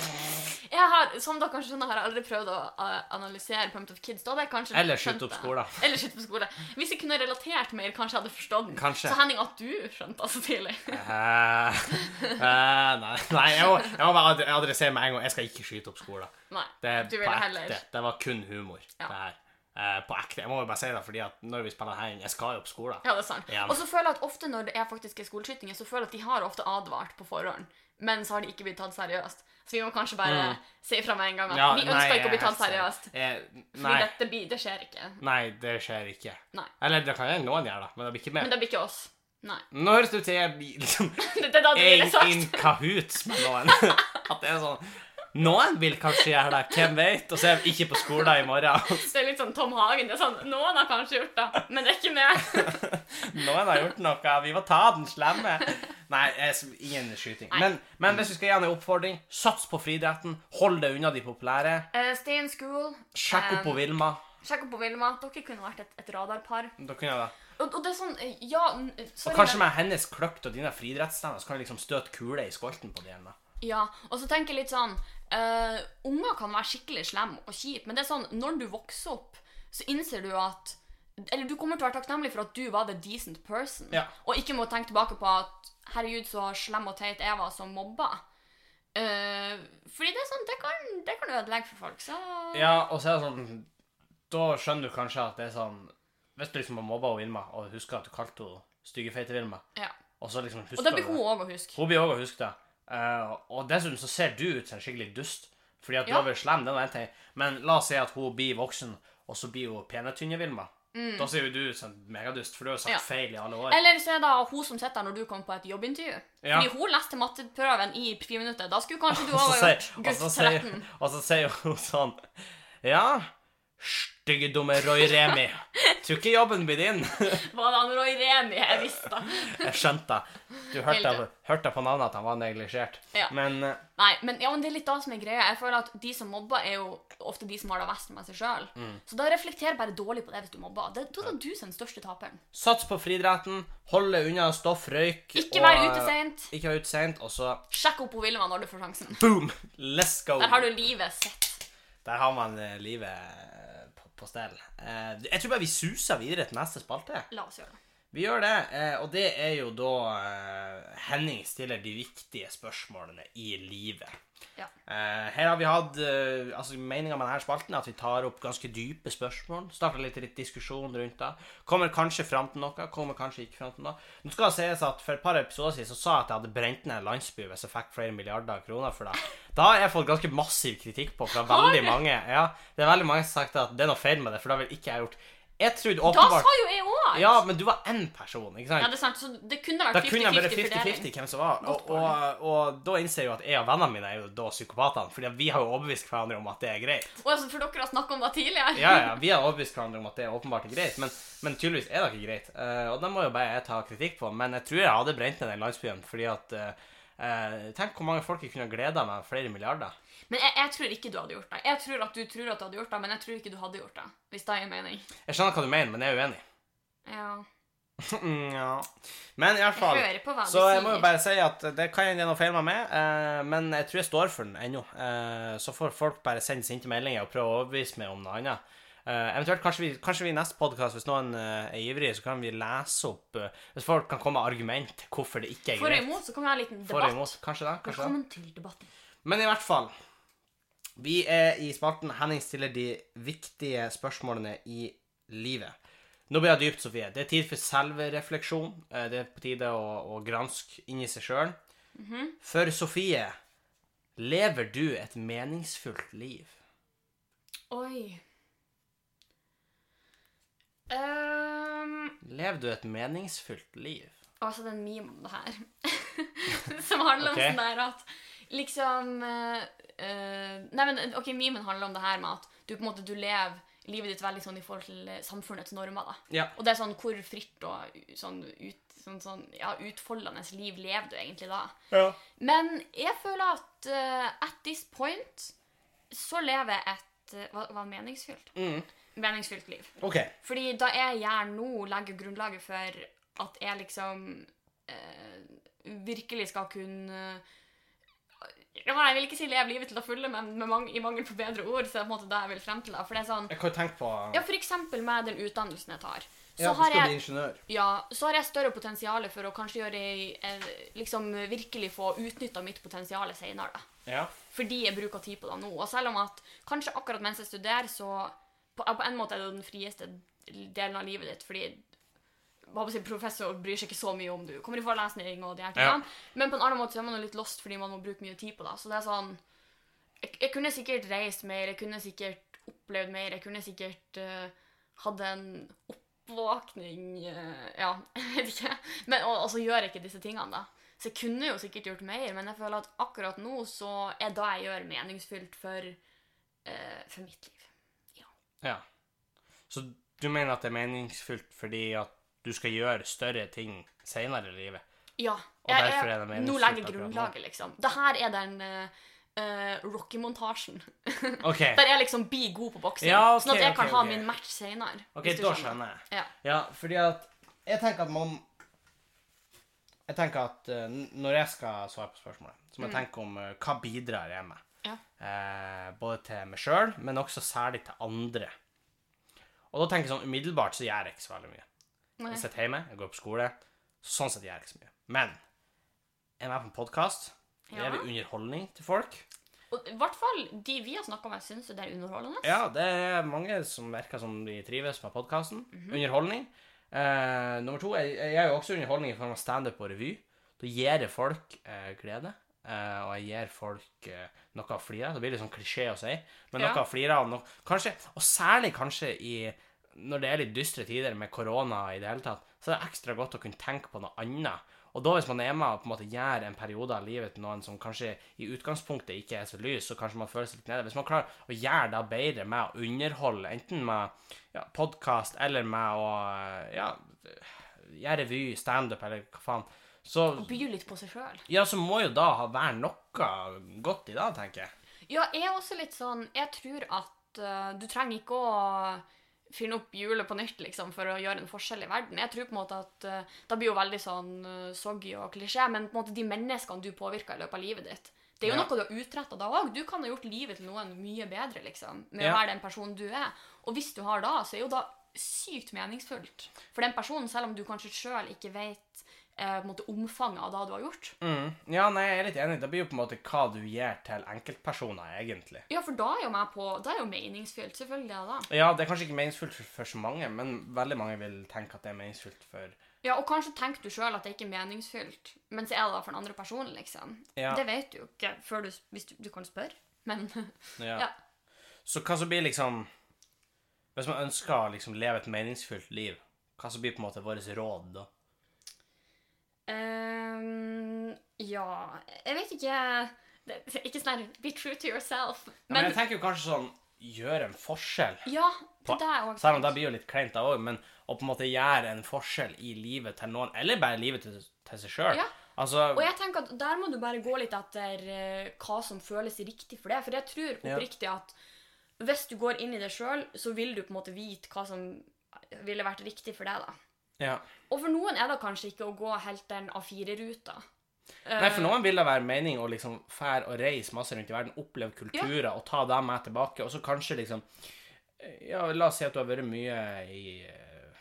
jeg har, Som dere kanskje skjønner, har jeg aldri prøvd å eh, analysere Pumped of Kids. Da hadde jeg kanskje
Eller
skjønt
skyte opp
det.
skolen.
Eller skyte opp skole. Hvis jeg kunne relatert mer, kanskje jeg hadde forstått den.
Kanskje.
Så Henning, at du skjønte det så tidlig. [LAUGHS]
Eh, eh, nei, nei jeg, må, jeg må bare ad- adressere med en gang. Jeg skal ikke skyte opp skolen.
Nei.
Det er
Du
på
ville heller.
ekte. Det var kun humor.
Ja.
Det her. Eh, på ekte. Jeg må jo bare si det, fordi at når vi spiller her inn, jeg skal jo opp skolen.
Ja, det er sant.
Ja.
Og så føler jeg at ofte når det er faktiske skoleskytinger, så føler jeg at de har ofte advart på forhånd, men så har de ikke blitt tatt seriøst. Så vi må kanskje bare si fra med en gang at
Mm. Ja,
vi
nei,
ønsker ikke å bli
jeg-
tatt seriøst.
Eh,
Fordi
nei,
dette blir, det skjer ikke.
nei, det skjer ikke.
Nei.
Eller det kan gjerne noen gjøre, da, men det blir ikke mer.
Men det blir ikke oss. Nei.
Nå høres det ut til jeg blir liksom
Det er [LAUGHS] da du
er
ville
in,
sagt.
in kahoots med noen. [LAUGHS] At det er sånn Noen vil kanskje gjøre det, hvem vet? Og så er vi ikke på skolen i morgen.
Det er litt sånn Tom Hagen. Det er sånn, Noen har kanskje gjort det, men det er ikke meg.
Noen har gjort noe. Vi må ta den slemme. Nei, jeg, ingen skyting.
Nei.
Men, men hvis vi skal gi han en oppfordring, sats på friidretten. Hold deg unna de populære.
[LAUGHS] Eh, stay in school.
Sjekk opp på Vilma.
Sjekk opp på Vilma. Dere kunne vært et, et radarpar.
Da kunne jeg det.
Og, og det er sånn eh, Ja, n- eh,
Og
sorry,
kanskje
men-
med hennes kløkt og dine friidrettsstevner, så kan du liksom støte kule i skolten på de ene.
Ja, Og så tenker jeg litt sånn eh, Unger kan være skikkelig slemme og kjipe, men det er sånn når du vokser opp, så innser du at Eller du kommer til å være takknemlig for at du var the decent person,
Ja.
og ikke må tenke tilbake på at herregud, så slem og teit jeg var som mobba. Eh, fordi det er sånn, det kan, det kan ødelegge for folk, så
Ja, og så er det sånn Da skjønner du kanskje at det er sånn Hvis du liksom har mobba Vilma, og husker at du kalte henne styggefeite Vilma,
ja.
og så liksom
Og
husker
da
du
blir hun
det.
òg å huske.
Hun blir òg å huske det. Eh, og dessuten så ser du ut som en skikkelig dust, fordi at du
Ja.
har vært slem, det er nå en ting. Men la oss si at hun blir voksen, og så blir hun pene tynne Vilma. Da ser jo du ut som en megadust, for du har jo sagt
Mm. Ja.
feil i alle år.
Eller så er det hun som sitter her når du kommer på et jobbintervju.
Ja.
Fordi hun leste matteprøven i friminuttet. Da skulle kanskje du
[LAUGHS] Og så
også
sier-
gjort
og så
gutt
sier-
13.
Og så sier hun sånn Ja, stygge dumme Roy Remi. Tror ikke jobben blir din. [LAUGHS]
Var det han Roy Remi? Jeg visste det.
Jeg skjønte det. Du hørte,
Helt
hørte på navnet at han var neglisjert.
Ja.
Men eh,
Nei, men, ja, men det er litt det som er greia. Jeg føler at De som mobber, er jo ofte de som har det verst med seg sjøl.
Mm.
Så da reflekter bare dårlig på det hvis du mobber. Det, da er det du som er den største taperen.
sats på friidretten, holde unna stoff, røyk
Ikke vær
og- eh,
ute seint.
Ikke være ute seint, og så
Sjekk opp hun Vilma når du får sjansen.
boom! Let's go!
Der har du livet sitt.
Der har man eh, livet eh, på, på stell. Eh, jeg tror bare vi suser videre til neste spalte.
La oss gjøre det.
Vi gjør det, eh, og det er jo da eh, Henning stiller de viktige spørsmålene i livet.
Ja.
Eh, Her har vi hatt eh, altså meninga med denne spalten er at vi tar opp ganske dype spørsmål. Starter litt, litt diskusjon rundt det. Kommer kanskje fram til noe, kommer kanskje ikke fram til noe. Nå skal det sies at For et par episoder siden så sa jeg at jeg hadde brent ned en landsby hvis jeg fikk flere milliarder kroner for det. Da har jeg fått ganske massiv kritikk på fra
Har du?
veldig mange. Ja, det er veldig mange som har sagt at det er noe feil med det, for det vil ikke jeg gjort. Jeg trodde
Da
åpenbart
sa jo jeg òg!
Ja, men du var én person, ikke sant?
Ja, det er sant. Så det kunne
Da
vært
kunne jeg vært
50-50 fordeling.
50-50 hvem som var. Og,
Godt
og, og da innser jeg jo at jeg og vennene mine er jo da psykopatene, Fordi at vi har jo overbevist hverandre om at det er
[LAUGHS]
greit.
Å, altså, for dere har snakka om det tidligere?
Ja, ja, vi har overbevist hverandre om at det er åpenbart ikke greit, men, men tydeligvis er det ikke greit. Eh, og det må jo bare jeg ta kritikk på, men jeg tror jeg hadde brent ned den landsbyen, fordi at eh, eh, Tenk hvor mange folk jeg kunne ha gleda meg flere milliarder.
Men jeg, jeg tror ikke du hadde gjort det. Jeg tror at du tror at du hadde gjort det, men jeg tror ikke du hadde gjort det. Hvis det gir mening.
Jeg skjønner hva du mener, men jeg er
[LAUGHS]
uenig.
Ja.
Mm, ja. Men i hvert
Jeg
fall
hører på hva du
Så jeg må jo
sier.
bare si at det kan hende det er noe feil med meg, eh, men jeg tror jeg står for den ennå. Eh, så får folk bare sende sinte meldinger og prøve å overbevise meg om noe annet. Eh, eventuelt kanskje vi, kanskje vi i neste podkast, hvis noen eh, er ivrig, så kan vi lese opp eh, Hvis folk kan komme med argument hvorfor det ikke er
For og
greit.
imot, så kan vi ha en liten
For og
debatt.
imot. Kanskje det. Kanskje det.
Velkommen til debatten.
Men i hvert fall Vi er i spalten Henning stiller de viktige spørsmålene i livet. Nå blir det dypt, Sofie. Det er tid for selvrefleksjon. Eh, Det er på tide å, å granske inni seg sjøl.
Mhm.
For Sofie, lever du et meningsfullt liv?
Oi. Ehm,
Lever du et meningsfullt liv?
altså, det er en meme om det her. [LAUGHS] Som handler
Ok.
om sånn der at liksom eh, eh, Nei, men ok, memen handler om det her med at du på en måte, du lever livet ditt veldig sånn i forhold til eh, samfunnets normer. da.
Ja.
Og det er sånn hvor fritt og u- sånn, ut, sånn, sånn ja, utfoldende liv lever du egentlig da?
ja.
Men jeg føler at eh, at this point så lever jeg et eh, hva, hva meningsfylt?
Mm.
Meningsfylt liv.
OK.
Fordi da jeg gjør nå, legger grunnlaget for at jeg liksom eh, virkelig skal kunne eh, ja, nei, Jeg vil ikke si leve livet til det fulle, men med mang i mangel på bedre ord. så er det på en måte det jeg vil frem til. Da. For det er sånn,
Jeg kan jo tenke på
ja, for eksempel med den utdannelsen jeg tar. Så
Ja, du
har
skal
jeg
bli ingeniør.
ja, så har jeg større potensial for å kanskje gjøre ei- eh, liksom virkelig få utnytta mitt potensial senere. da.
Ja.
Fordi jeg bruker tid på det nå. Og selv om at kanskje akkurat mens jeg studerer, så på, på en måte er det den frieste delen av livet ditt, fordi hva skal jeg si, professor bryr seg ikke så mye om du kommer i forelesning og de her
Ja.
tingene. Men på en annen måte så er man jo litt lost fordi man må bruke mye tid på det. Så det er sånn Jeg, jeg kunne sikkert reist mer, jeg kunne sikkert opplevd mer, jeg kunne sikkert eh, hatt en oppvåkning eh, Ja, [LAUGHS] jeg vet ikke. Men, og, og så gjør jeg ikke disse tingene, da. Så jeg kunne jo sikkert gjort mer, men jeg føler at akkurat nå så er da jeg gjør meningsfylt for, eh, for mitt liv.
Ja. Så du mener at det er meningsfullt fordi at du skal gjøre større ting seinere i livet?
Ja.
Og derfor er det meningsfullt
nå legger
akkurat nå.
grunnlaget, liksom. Det her er den eh, eh, Rocky-montasjen.
OK.
Der jeg liksom blir god på boksing.
Ja, ok,
sånn at jeg
ok,
kan ha
ok.
min match senere.
Ok,
hvis du
da skjønner jeg.
Ja.
Ja, fordi at Jeg tenker at man Jeg tenker at eh, n- når jeg skal svare på spørsmålet, så må jeg
Mm.
tenke om eh, hva bidrar jeg med?
Ja.
Eh, både til meg sjøl, men også særlig til andre. Og da tenker jeg sånn umiddelbart så gjør jeg ikke så veldig mye.
Nei.
Jeg sitter hjemme, jeg går på skole. Sånn sett gjør jeg ikke så mye. Men jeg er med på en podkast. Det
Ja.
er jo underholdning til folk.
Og i hvert fall de vi har snakka med, syns jo det er underholdende.
Ja, det er mange som virker som de trives med podkasten. Underholdning. Eh, nummer to, jeg, jeg er jo også underholdning i form av standup og revy. Da gir det folk eh, glede. eh, og jeg gir folk eh, noe å flire av. Det blir litt sånn klisjé å si, men
Ja.
noe å flire av. No kanskje, og særlig kanskje i når det er litt dystre tider med korona i det hele tatt, så er det ekstra godt å kunne tenke på noe annet. Og da hvis man er med og på en måte gjør en periode av livet til noen som kanskje i utgangspunktet ikke er så lys, så kanskje man føler seg litt nede. Hvis man klarer å gjøre det bedre med å underholde, enten med ja, podkast eller med å ja, gjøre revy, standup eller hva faen, så
Og by litt på seg sjøl.
ja, så må jo da ha- være noe godt i dag, tenker jeg.
Ja, jeg er også litt sånn Jeg tror at eh, du trenger ikke å finne opp hjulet på nytt liksom, for å gjøre en forskjell i verden. Jeg tror på en måte at eh, Det blir jo veldig sånn eh, soggy og klisjé, men på en måte de menneskene du påvirker i løpet av livet ditt det er jo
Ja.
noe du har utretta da òg. Du kan ha gjort livet til noen mye bedre liksom, med å
Ja.
være den personen du er. Og hvis du har da, så er jo da sykt meningsfullt for den personen, selv om du kanskje sjøl ikke vet eh, på en måte omfanget av det du har gjort.
Mm. Ja, nei, jeg er litt enig. Det blir jo på en måte hva du gjør til enkeltpersoner, egentlig.
Ja, for da er jo meg på Da er jo meningsfylt. Selvfølgelig er det det.
Ja, det er kanskje ikke meningsfullt for, for så mange, men veldig mange vil tenke at det er meningsfullt for
Ja, og kanskje tenker du sjøl at det ikke er meningsfylt, men så er det da for den andre personen, liksom.
Ja.
Det vet du jo ikke før du, hvis du, du kan spørre, men [LAUGHS]
ja.
Ja.
Så hva som blir liksom Hvis man ønsker å liksom leve et meningsfullt liv, hva som blir på en måte vårt råd da?
Ehm, Ja Jeg vet ikke det, Ikke sånn her Be true to yourself.
Ja, men jeg tenker jo kanskje sånn Gjøre en forskjell.
ja, det
På-
der òg.
Selv om det blir jo litt kleint, da òg, men å på en måte gjøre en forskjell i livet til noen, eller bare livet til, til seg sjøl
Ja.
Altså,
Og jeg tenker at Der må du bare gå litt etter eh, hva som føles riktig for deg. For jeg tror
Ja.
oppriktig at hvis du går inn i det sjøl, så vil du på en måte vite hva som ville vært riktig for deg. da.
ja.
Og for noen er det kanskje ikke å gå helt den A4-ruta.
Nei,
Eh,
for noen vil det være mening å liksom fære og reise masse rundt i verden, oppleve kulturer og ta dem med tilbake, og så kanskje liksom Ja, la oss si at du har vært mye i eh,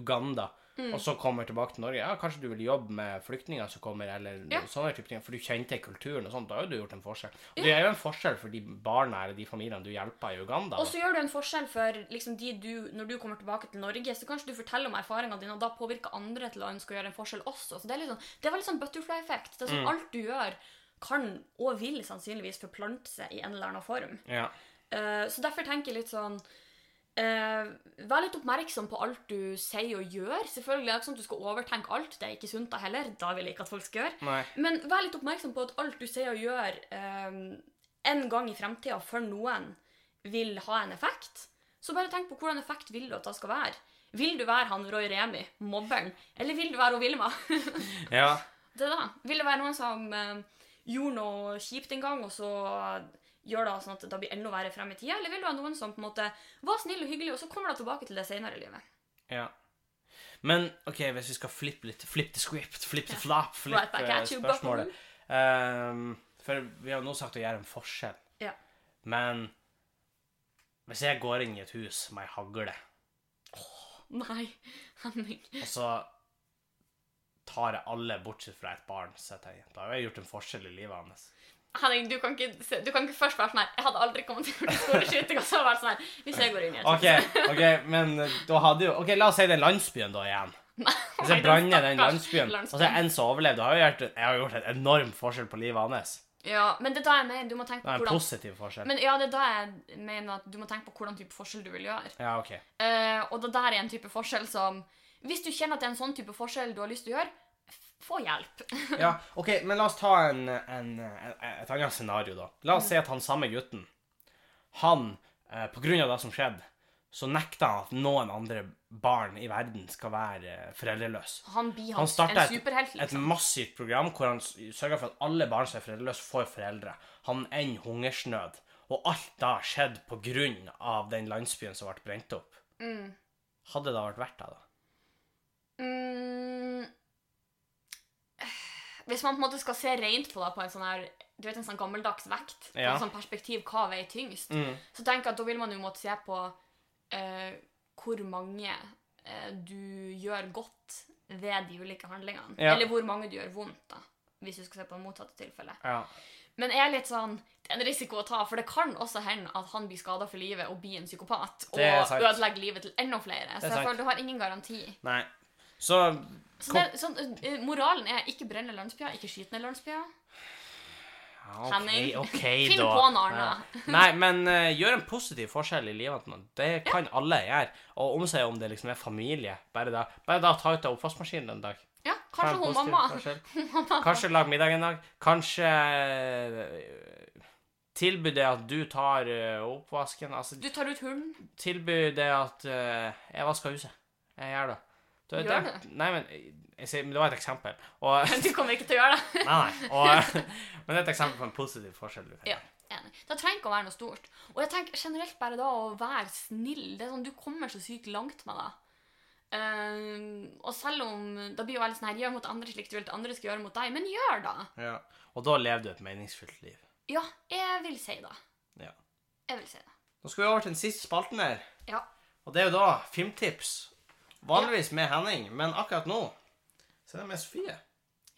Uganda,
Mm.
og så kommer tilbake til Norge. Ja, kanskje du vil jobbe med flyktninger som kommer, eller
Ja.
sånne type ting, for du kjente kulturen og sånt. Da har jo du gjort en forskjell. Og du gjør jo en forskjell for de barna eller de familiene du hjelper i Uganda.
Og
da.
så gjør du en forskjell for liksom, de du, når du kommer tilbake til Norge, så kanskje du forteller om erfaringene dine, og da påvirker andre til å ønske å gjøre en forskjell også. Så Det er litt sånn, det er veldig sånn butterfly-effekt. Det er sånn Alt du gjør, kan og vil sannsynligvis forplante seg i en eller annen form.
Ja.
Eh, så derfor tenker jeg litt sånn eh, Vær litt oppmerksom på alt du sier og gjør. Selvfølgelig er det ikke sånn at du skal overtenke alt. Det er ikke sunt da heller. Da vil jeg ikke at folk skal gjøre.
Nei.
Men vær litt oppmerksom på at alt du sier og gjør eh, en gang i fremtida for noen, vil ha en effekt. Så bare tenk på hvordan effekt vil du at det skal være. Vil du være han Roy Remi, mobberen, eller vil du være hun Vilma?
Ja.
[LAUGHS] det da. Vil det være noen som eh, gjorde noe kjipt en gang, og så gjør det sånn at det blir enda verre frem i tida? Eller vil det være noen som på en måte var snill og hyggelig, og så kommer det tilbake til det senere i livet?
Ja. Men OK, hvis vi skal flippe litt Flip the script, flip the flap,
Right
flip
back
eh,
at you,
spørsmålet. Ehm, for vi har jo nå sagt å gjøre en forskjell.
Ja.
Men hvis jeg går inn i et hus med ei hagle,
Nei, [LAUGHS] Henning.
og så tar jeg alle bortsett fra et barn, så jeg, da har jeg gjort en forskjell i livet hans.
Henning, du kan, ikke, se- du kan ikke først være sånn her Jeg hadde aldri kommet til å gjøre skoleskyting, og så være sånn her Hvis jeg går inn i et
OK, ok, men da hadde jo OK, la oss si den landsbyen, da, igjen. Hvis
Nei,
jeg
den
branner den
stakkars
landsbyen, og så
landsbyen.
er en som overlevde, har jeg gjort, jeg har gjort en enorm forskjell på livet hans.
Ja, men det er da jeg mener du må tenke
Det
på
er en
hvordan
positiv forskjell.
men ja, det er da jeg mener at du må tenke på hvordan type forskjell du vil gjøre.
Ja, ok.
Eh, og det der er en type forskjell som Hvis du kjenner at det er en sånn type forskjell du har lyst til å gjøre, f- få hjelp.
Ja, ok, Men la oss ta en, en, en, et annet scenario, da. La
Mm.
oss si at han samme gutten Han, eh, på grunn av det som skjedde, så nekta han at noen andre barn i verden skal være eh, foreldreløse.
Han blir
Han
han,
starta
en
et,
superhelt.
et
Liksom.
massivt program hvor han s- sørger for at alle barn som er foreldreløse, får foreldre. Han ender hungersnød. Og alt da skjedde på grunn av den landsbyen som ble brent opp.
Mm.
Hadde det da vært verdt det, da?
Mm. Hvis man på en måte skal se rent på det på en sånn her Du vet en sånn gammeldags vekt, på
Ja.
en sånn perspektiv hva veier tyngst, så tenker jeg at da vil man jo måtte se på eh, hvor mange eh, du gjør godt ved de ulike handlingene.
Ja.
Eller hvor mange du gjør vondt, da, hvis du skal se på det motsatte tilfellet.
Ja.
Men jeg er litt sånn Det er en risiko å ta, for det kan også hende at han blir skada for livet og blir en psykopat og
Det er sant.
ødelegger livet til enda flere. Så
er
jeg
sant.
føler du har ingen garanti.
Nei. Så
eh, Så det, sånn, eh, moralen er ikke brenne landsbyer, ikke skyte ned landsbyer.
Ja, ok,
Henning,
Ah, ok,
[LAUGHS] finn
da.
på en annen.
Ja. Nei, men eh, gjør en positiv forskjell i livet til noen. Det kan alle gjøre. Og om seg om det liksom er familie. Bare da, bare da ta ut av oppvaskmaskinen en dag.
Ja,
Ta en
kanskje [LAUGHS] hun
positiv
mamma.
forskjell. Kanskje lag middag en dag. Kanskje eh, tilby det at du tar eh, oppvasken. Altså,
Du tar ut hunden.
tilby det at eh, jeg vasker huset. Jeg gjør det. Du vet
Gjør
Nei, men, jeg, sier- men det var et eksempel. Og, [LAUGHS]
Du kommer ikke til å gjøre det.
nei, nei, og, [LAUGHS] men det er et eksempel på en positiv forskjell. du kan
Ja, enig. Det trenger ikke å være noe stort. Og jeg tenker generelt bare da å være snill. Det er sånn, Du kommer så sykt langt med det. Eh, og selv om Da blir jo veldig sånn her Gjør mot andre slik du vil at andre skal gjøre mot deg. Men gjør det!
gjøre. Og da lever du et meningsfylt liv.
Ja, jeg vil si det.
Ja.
Jeg vil si det.
Nå skal vi over til den siste spalten her.
Ja.
Og det er jo da filmtips. Vanligvis med Henning, men akkurat nå så er det med Sofie.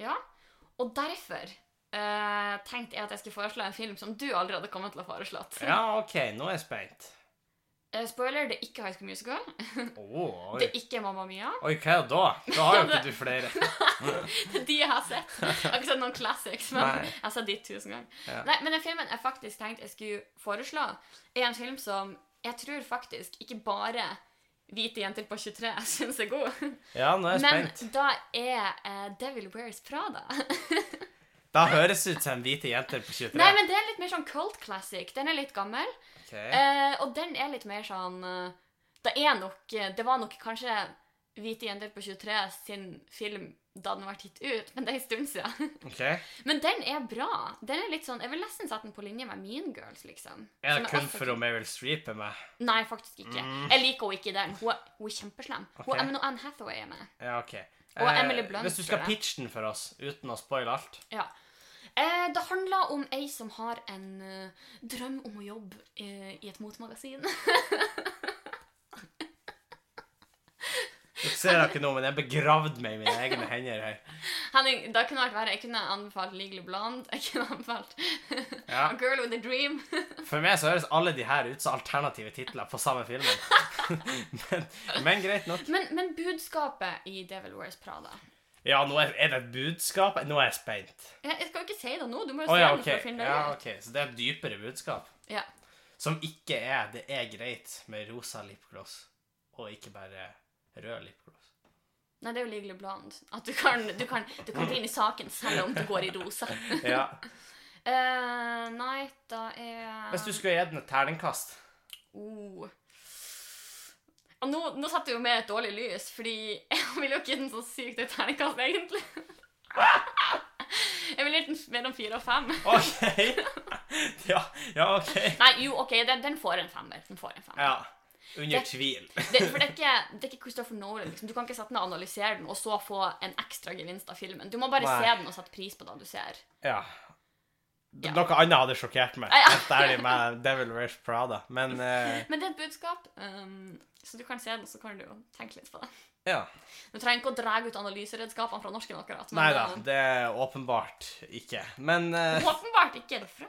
Ja, og derfor eh, tenkte jeg at jeg skulle foreslå en film som du allerede kommer til å ha foreslått.
Ja, OK, nå er jeg spent.
Eh, spoiler, det er ikke High School Musical.
Oh, oi.
Det er ikke Mamma Mia.
oi, hva er det da? Da har jo ikke du
[LAUGHS]
flere.
De jeg har sett. Jeg har ikke sett noen classics, men
Nei.
jeg har sett de tusen ganger.
Ja.
Nei, men den filmen jeg faktisk tenkte jeg skulle foreslå, er en film som jeg tror faktisk ikke bare hvite jenter på [LAUGHS] 23 syns er god,
Ja, nå er jeg
men
spent.
da er eh, Devil Wears Prada.
Da høres det ut som hvite jenter på 23.
[LAUGHS] Nei, men det er litt mer sånn cult classic. Den er litt gammel.
Ok.
Eh, og den er litt mer sånn eh, Det er nok eh, Det var nok kanskje Hvite jenter på 23 sin film da den ble gitt ut, men det er en stund siden.
ok.
Men den er bra. Den er litt sånn Jeg vil nesten sette den på linje med Mean Girls, liksom.
Er
Som
det kun
også-
for å Meryl Streep er med?
Nei, faktisk ikke. Jeg liker henne ikke i den. Hun er, hun er kjempeslem. Hun
Ok.
er og Anne Hathaway er med.
Ja, ok.
Og
Eh,
Emily Blunt,
Hvis du
tror
skal
jeg.
pitche den for oss, uten å spoile alt
Ja. Eh, det handler om ei som har en eh, drøm om å jobbe eh, i et motemagasin. [LAUGHS]
Du ser dere nå, men jeg begravde meg i mine egne hender her.
Henning, det kunne vært verre. Jeg kunne anbefalt Legally Blonde. Jeg kunne anbefalt
Ja.
[LAUGHS] A Girl With A Dream. [LAUGHS]
For meg så høres alle de her ut som alternative titler på samme filmen. [LAUGHS] men, men greit nok.
Men, men budskapet i Devil Wears Prada
Ja, nå er, er det et budskap. Nå er jeg spent.
Jeg, jeg skal jo ikke si det nå. Du må
Å
jo se
ja,
den
ok.
for å finne det
ja,
ut.
ok. Så det er et dypere budskap.
Ja.
Som ikke er 'det er greit med rosa lipgloss', og ikke bare rød lipgloss.
Nei, det er jo Legally Blonde. At du kan, du kan, du kan gå inn i saken selv om du går i rosa.
Ja.
Eh, nei, da er
Hvis du skulle gitt den et terningkast
oh. Og nå, nå satte du jo med et dårlig lys, fordi jeg ville jo ikke gitt den så sykt et terningkast, egentlig. Jeg ville gitt den mellom fire og fem.
OK! [LAUGHS] Ja, ja OK.
Nei, jo, OK, den, den får en femmer. Den får en femmer.
Ja. Under
Det-
tvil. [LAUGHS]
Det, for det er, ikke, det er ikke Christopher Nolan. Liksom. Du kan ikke sette den og analysere den, og så få en ekstra gevinst av filmen. Du må bare
Nei.
se den og sette pris på det du ser.
Ja. D-
Ja.
Noe annet hadde sjokkert meg,
Ja, ja.
helt ærlig, med Devil Wears Prada. Men eh,
Men det er et budskap, ehm, så du kan se den, og så kan du jo tenke litt på det.
ja.
Du trenger ikke å dra ut analyseredskapene fra norsken akkurat. men,
Nei da,
eh,
det er åpenbart ikke. Men, eh,
Åpenbart ikke derfra.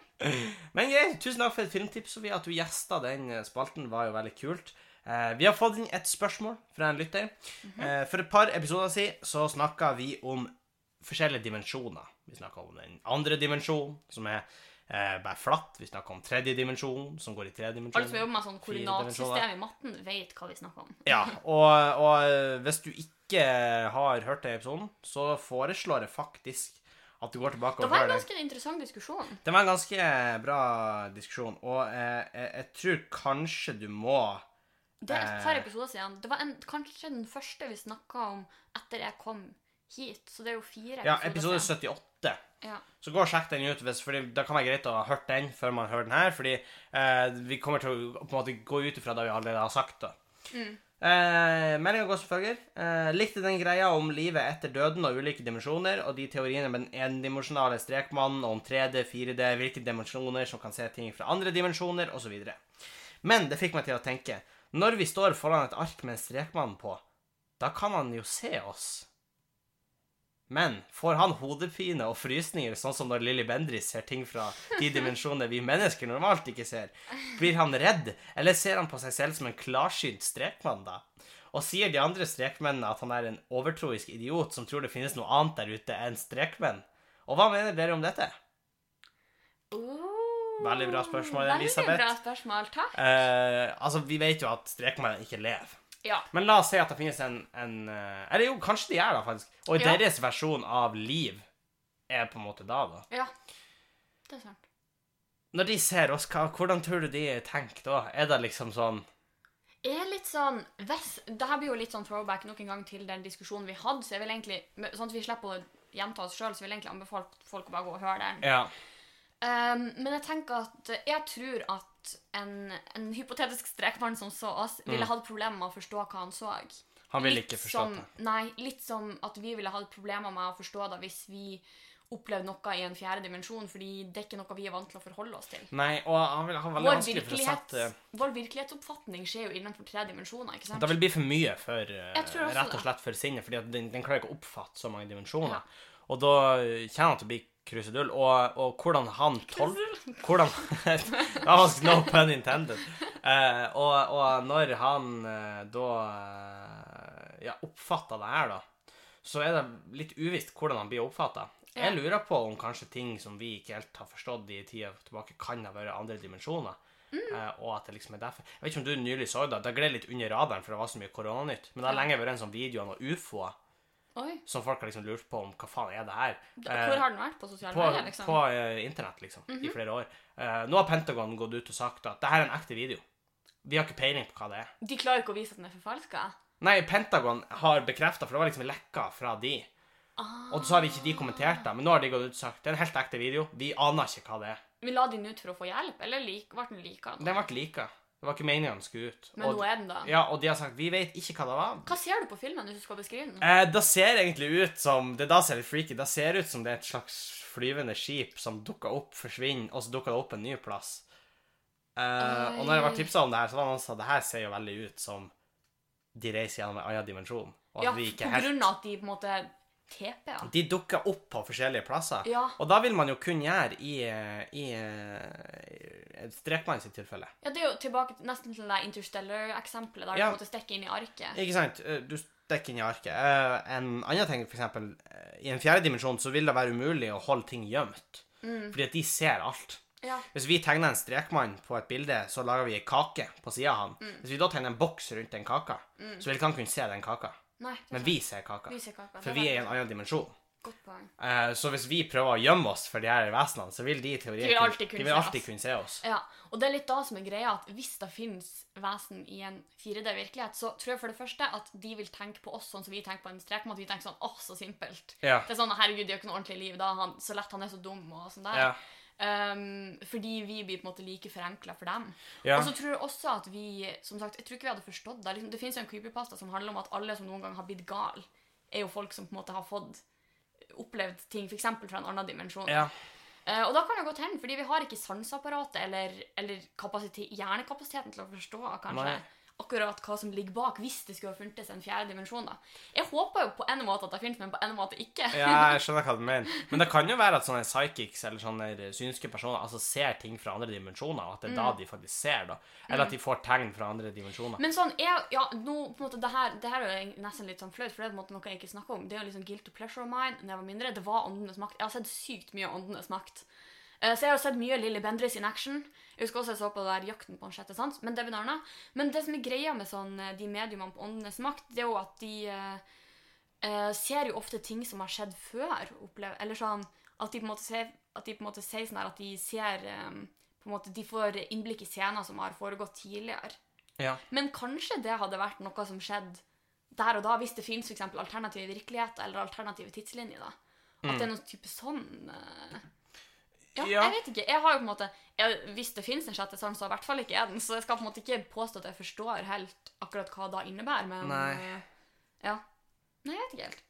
men greit, tusen takk for et filmtips, Sofie. At du gjesta den eh, spalten, var jo veldig kult. Eh, vi har fått inn et spørsmål fra en lytter.
Mhm.
eh, for et par episoder siden så snakka vi om forskjellige dimensjoner. Vi snakka om den andre dimensjonen, som er eh, bare flatt. Vi snakka om tredje dimensjon, som går i tre dimensjoner.
Alle som jobber med sånn
Fire
koordinatsystem i matten, vet hva vi snakker om.
Ja, og, og eh, hvis du ikke har hørt den episoden, så foreslår jeg faktisk at du går tilbake
Det
og
var
hører
en
den.
ganske interessant diskusjon.
Det var en ganske eh, bra diskusjon, og eh, jeg, jeg tror kanskje du må
Det
Eh.
er et par episoder siden. Det var en, kanskje den første vi snakka om etter jeg kom hit, så det er jo fire
Ja, episode
siden.
78.
Ja.
Så gå og sjekk den ut, hvis, fordi da kan det være greit å ha hørt den før man hører den her, fordi eh, vi kommer til å på en måte gå ut ifra det vi allerede har sagt. da.
Mm.
Eh, Meldinga går som følger. Eh, likte den greia om livet etter døden og ulike dimensjoner, og de teoriene med den endimensjonale strekmannen og om 3D, 4D, hvilke dimensjoner som kan se ting fra andre dimensjoner, osv. Men det fikk meg til å tenke. Når vi står foran et ark med en strekmann på, da kan han jo se oss. Men får han hodepine og frysninger, sånn som når Lilly Bendriss ser ting fra de dimensjoner vi mennesker normalt ikke ser? Blir han redd, eller ser han på seg selv som en klarsynt strekmann, da? Og sier de andre strekmennene at han er en overtroisk idiot som tror det finnes noe annet der ute enn strekmenn? Og hva mener dere om dette?
Oh,
Veldig bra spørsmål, Elisabeth.
Veldig bra spørsmål, takk.
Eh, altså, vi vet jo at strekmannen ikke lever.
Ja.
Men la oss si at det finnes en, en eh, Eller jo, kanskje de er det, faktisk. Og
Ja.
deres versjon av liv er på en måte da, da.
ja. Det er sant.
Når de ser oss, hva, hvordan tror du de tenker da? Er det liksom sånn
Jeg er litt sånn hvis, Det her blir jo litt sånn throwback nok en gang til den diskusjonen vi hadde, så jeg vil egentlig, men sånn at vi slipper å gjenta oss sjøl, så vil jeg egentlig anbefale folk å bare gå og høre den.
Ja.
Um, men jeg tenker at jeg tror at en, en hypotetisk strekmann som så oss, ville hatt problemer med å forstå hva han så.
Mm. Han vil
Litt sånn
ikke forstå
som,
det.
Nei, litt som at vi ville hatt problemer med å forstå det hvis vi opplevde noe i en fjerde dimensjon, fordi det er ikke noe vi er vant til å forholde oss til.
Nei, og han vil ha veldig
Vår,
vanskelig for å
virkelighet,
sette
vår virkelighetsoppfatning skjer jo innenfor tre dimensjoner, ikke sant?
Det vil bli for mye for eh,
Jeg tror også
Rett
det.
og slett for sinnet, fordi at den, den klarer ikke å oppfatte så mange dimensjoner.
Ja.
Og da kjenner han til å bli krusedull. Og, og hvordan han tol... Hvordan [LAUGHS] Det var faktisk no pun intended. Eh, og, og når han eh, da eh, ja, oppfatta det her, da, så er det litt uvisst hvordan han blir oppfatta.
Ja.
Jeg lurer på om kanskje ting som vi ikke helt har forstått i tida tilbake, kan ha vært andre dimensjoner.
Mm.
Eh, og at det liksom er derfor Jeg vet ikke om du nylig så det. Det gled litt under radaren, for det var så mye koronanytt. Men det har
Ja.
lenge vært en sånn video av noen ufoer
Oi,
som folk har liksom lurt på om hva faen er det her?
da, hvor har den vært på sosiale
Eh, på
medier, liksom? Mhm.
på eh, internett, liksom, i flere år. Eh, nå har Pentagon gått ut og sagt at det her er en ekte video. Vi har ikke peiling på hva det er.
De klarer ikke å vise at den er forfalska?
Nei, Pentagon har bekrefta, for det var liksom lekka fra de. Og så har ikke de kommentert det, men nå har de gått ut og sagt det er en helt ekte video. Vi aner ikke hva det er.
Vi la den ut for å få hjelp, eller lik, ble den lika?
Den ble lika. Det var ikke meninga den skulle ut.
Men
og,
nå er den da.
ja, og de har sagt vi vet ikke hva det var.
Hva ser du på filmen hvis du skal beskrive den?
Eh, da ser det egentlig ut som Det da ser litt freaky. Da ser det ut som det er et slags flyvende skip som dukker opp, forsvinner, og så dukker det opp en ny plass. Eh, og når jeg
Oi.
var tipsa om det her, så var det noen som sa det her ser jo veldig ut som de reiser gjennom en annen dimensjon. Og at
Ja,
vi
på
ikke helt
grunn av at de på en måte TP-er.
De dukker opp på forskjellige plasser.
Ja.
Og da vil man jo kun gjøre i, eh, i, i Strekmann sitt tilfelle.
ja, det er jo tilbake til- nesten til det Interstellar-eksempelet, der
Ja.
du måtte stikke inn i arket.
Ikke sant? Eh, Du stikker inn i arket. Eh, En annen ting, for eksempel, eh, i en fjerde dimensjon så vil det være umulig å holde ting gjemt.
Mm.
Fordi at de ser alt.
Ja.
Hvis vi tegner en strekmann på et bilde, så lager vi ei kake på sida av han.
Mm.
Hvis vi da tegner en boks rundt den kaka, så vil ikke han kunne se den kaka.
Nei, det er
Men
sant.
vi ser kaka.
Mm. Vi ser kaka.
For vi er i en annen dimensjon.
Godt poeng.
Eh, Så hvis vi prøver å gjemme oss for de her vesenene, så vil de i teorien
De vil alltid kunne
de vil
se
alltid
oss.
kunne se oss.
Ja, og det er litt da som er greia, at hvis det finnes vesen i en 4D-virkelighet, så tror jeg for det første at de vil tenke på oss sånn som vi tenker på en strek, at vi tenker sånn, åh, så simpelt.
Ja.
Det er sånn, herregud, de har ikke noe ordentlig liv, da er han, så lett han er så dum og sånn der.
Ja.
Um, fordi vi blir på en måte like forenklet for dem.
Ja.
Og så tror jeg også at vi, som sagt, jeg tror ikke vi hadde forstått det. Liksom, det finnes jo en creepypasta som handler om at alle som noen gang har blitt gal, er jo folk som på en måte har fått opplevd ting, for eksempel fra en annen dimensjon.
Ja.
Eh, Og da kan det godt hende, fordi vi har ikke sanseapparatet eller, eller kapasite- hjernekapasiteten til å forstå kanskje
Nei.
akkurat hva som ligger bak, hvis det skulle ha funtes en fjerde dimensjon. da. Jeg håper jo på en måte at det finnes, men på en måte ikke.
Ja, jeg skjønner hva du mener. Men det kan jo være at sånne psychics eller sånne synske personer altså ser ting fra andre dimensjoner, og at det er da de faktisk ser, da. Eller at de får tegn fra andre dimensjoner.
Mm. Men sånn, jeg, ja, nå, på en måte, det her, det her er jo nesten litt sånn flaut, for det er på en måte noe jeg ikke snakker om. Det er jo liksom guilt to pleasure of mine når jeg var mindre. Det var Åndenes makt. Jeg har sett sykt mye Åndenes makt. Eh, Så jeg har sett mye Lilly Bendriss in action. Jeg husker også jeg så på det der Jakten på en sjette sans, men det er noe annet. Men det som er greia med sånn, eh, de mediumene på Åndenes makt, det er jo at de eh, eh, ser jo ofte ting som har skjedd før. Opplever, eller sånn, at de på en måte ser, at de på en måte sier sånn her at de ser eh, på en måte, De får innblikk i scener som har foregått tidligere.
Ja.
Men kanskje det hadde vært noe som skjedde der og da, hvis det finnes for eksempel alternative virkeligheter eller alternative tidslinjer. da. At det er noen type sånn eh, ja,
Mm. Ja.
jeg vet ikke. Jeg har jo på en måte, jeg, Hvis det finnes en sjette sans, så i hvert fall ikke er den. Så jeg skal på en måte ikke påstå at jeg forstår helt akkurat hva det innebærer, men
Nei.
eh, ja. Nei, jeg vet ikke helt.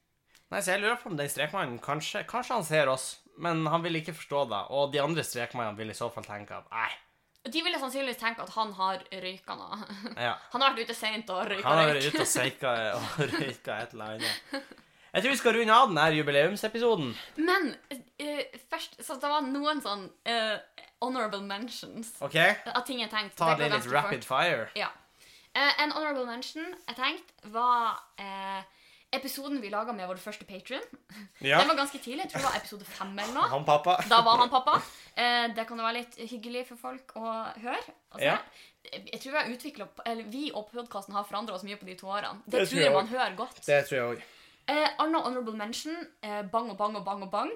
Nei, så jeg lurer på om den strekmannen kanskje, kanskje han ser oss, men han vil ikke forstå det. Og de andre strekmannene vil i så fall tenke at nei.
De ville sannsynligvis tenke at han har røyka nå.
Ja.
[LAUGHS] Han har vært ute seint og røyka
Han har vært
røyk.
ute og seika og røyka et eller annet. Jeg tror vi skal runde av denne jubileumsepisoden.
Men eh, først Så det var noen sånn eh, honorable mentions.
OK?
Av ting jeg tenkte.
Ta
det
det
går
litt
ganske fort.
rapid fire.
Ja. Eh, en honorable mention jeg tenkte, var eh, episoden vi laga med vår første patron.
Ja.
Den var ganske tidlig. Jeg tror det var episode fem eller noe.
Han pappa.
Da var han pappa. Eh, det kan jo være litt hyggelig for folk å høre. og se.
Ja.
Jeg tror vi, har utviklet, eller vi og podkasten har forandra oss mye på de to årene. Det,
Det tror
tror
jeg
jeg man hører godt.
Det tror jeg òg.
Eh, Anna Honorable Mention, eh, bang og bang og bang og bang.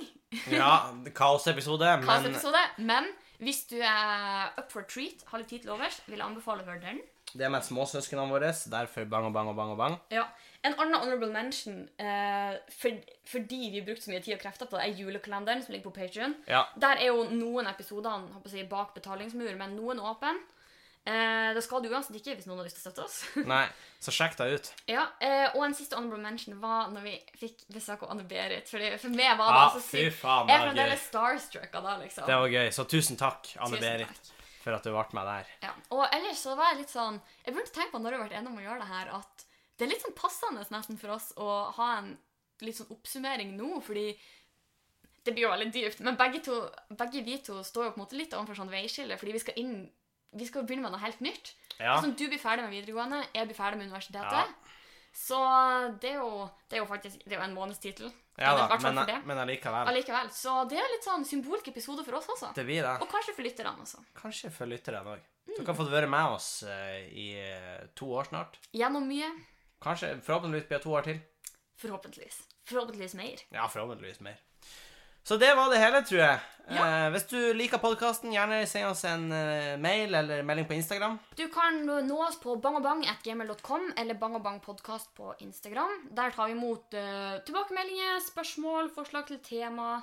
Ja, kaosepisode, men
Kaosepisode. Men hvis du er up for a treat, har litt tid til overs, vil jeg anbefale å høre den.
det er med småsøsknene våre. Derfor bang og bang og bang og bang.
Ja. En annen honorable mention, eh, for, fordi vi har brukt så mye tid og krefter på det, er julekalenderen som ligger på Patreon.
Ja.
Der er jo noen episoder holdt på å si, bak betalingsmur, men noen åpen. Eh, det skal du uansett ikke hvis noen har lyst til å støtte oss. [LAUGHS]
Nei, så sjekk deg ut.
ja, eh, Og en siste honorable mention var når vi fikk besøk av Anne-Berit. fordi For meg var det
Ja,
altså
Ah, fy
sykt.
faen, det
Jeg er
var gøy.
fremdeles starstruck av det, liksom.
Det var gøy. Så tusen takk,
Tusen
Anne-Berit,
takk.
for at du ble med der.
Ja. Og ellers så var jeg litt sånn Jeg burde tenke på når jeg har vært enig om å gjøre det her, at det er litt sånn passende nesten for oss å ha en litt sånn oppsummering nå, fordi det blir jo veldig dypt. Men begge, to, begge vi to står jo på en måte litt overfor sånn veiskille, fordi vi skal inn vi skal jo begynne med noe helt nytt.
Ja.
Sånn, Du blir ferdig med videregående, jeg blir ferdig med universitetet.
Ja.
Så det er, jo, det er jo faktisk det er jo en månedstittel.
Ja
Det er
da,
i hvert fall
men, eh,
for det.
men allikevel.
Allikevel. Så det er litt sånn symbolsk episode for oss også.
Det blir det.
Og kanskje for lytterne også.
Kanskje for lytterne òg.
Mm.
Dere har fått være med oss eh, i eh, to år snart.
Gjennom mye.
Kanskje, Forhåpentligvis blir det to år til.
Forhåpentligvis. Forhåpentligvis mer.
Ja, forhåpentligvis mer. Så det var det hele, tror jeg.
Ja.
Eh, hvis du liker podkasten, gjerne send oss en eh, mail eller melding på Instagram.
Du kan nå oss på bangabang.gmail.com eller bangabangpodkast på Instagram. Der tar vi imot eh, tilbakemeldinger, spørsmål, forslag til tema.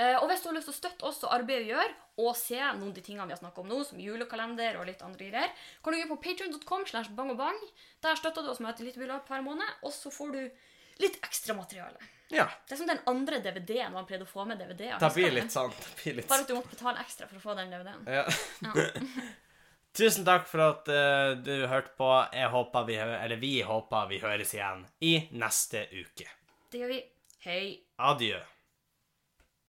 Eh, og hvis du har lyst til å støtte oss og arbeidet vi gjør, og se noen av de tingene vi har snakket om nå, som julekalender og litt andre greier, kan du gå på patreon.com slash bangabang. Der støtter du oss med et lite beløp per måned, og så får du litt ekstra materiale.
Ja.
Det er som den andre DVD-en man pleide å få med DVD-er.
Det blir
husker du?
litt sånn. Det blir litt
Bare at du måtte betale ekstra for å få den DVD-en.
Ja. [LAUGHS] Tusen takk for at eh, du hørte på. Jeg håper vi, hø- eller vi håper vi høres igjen i neste uke.
Det gjør vi. Hei.
Adjø.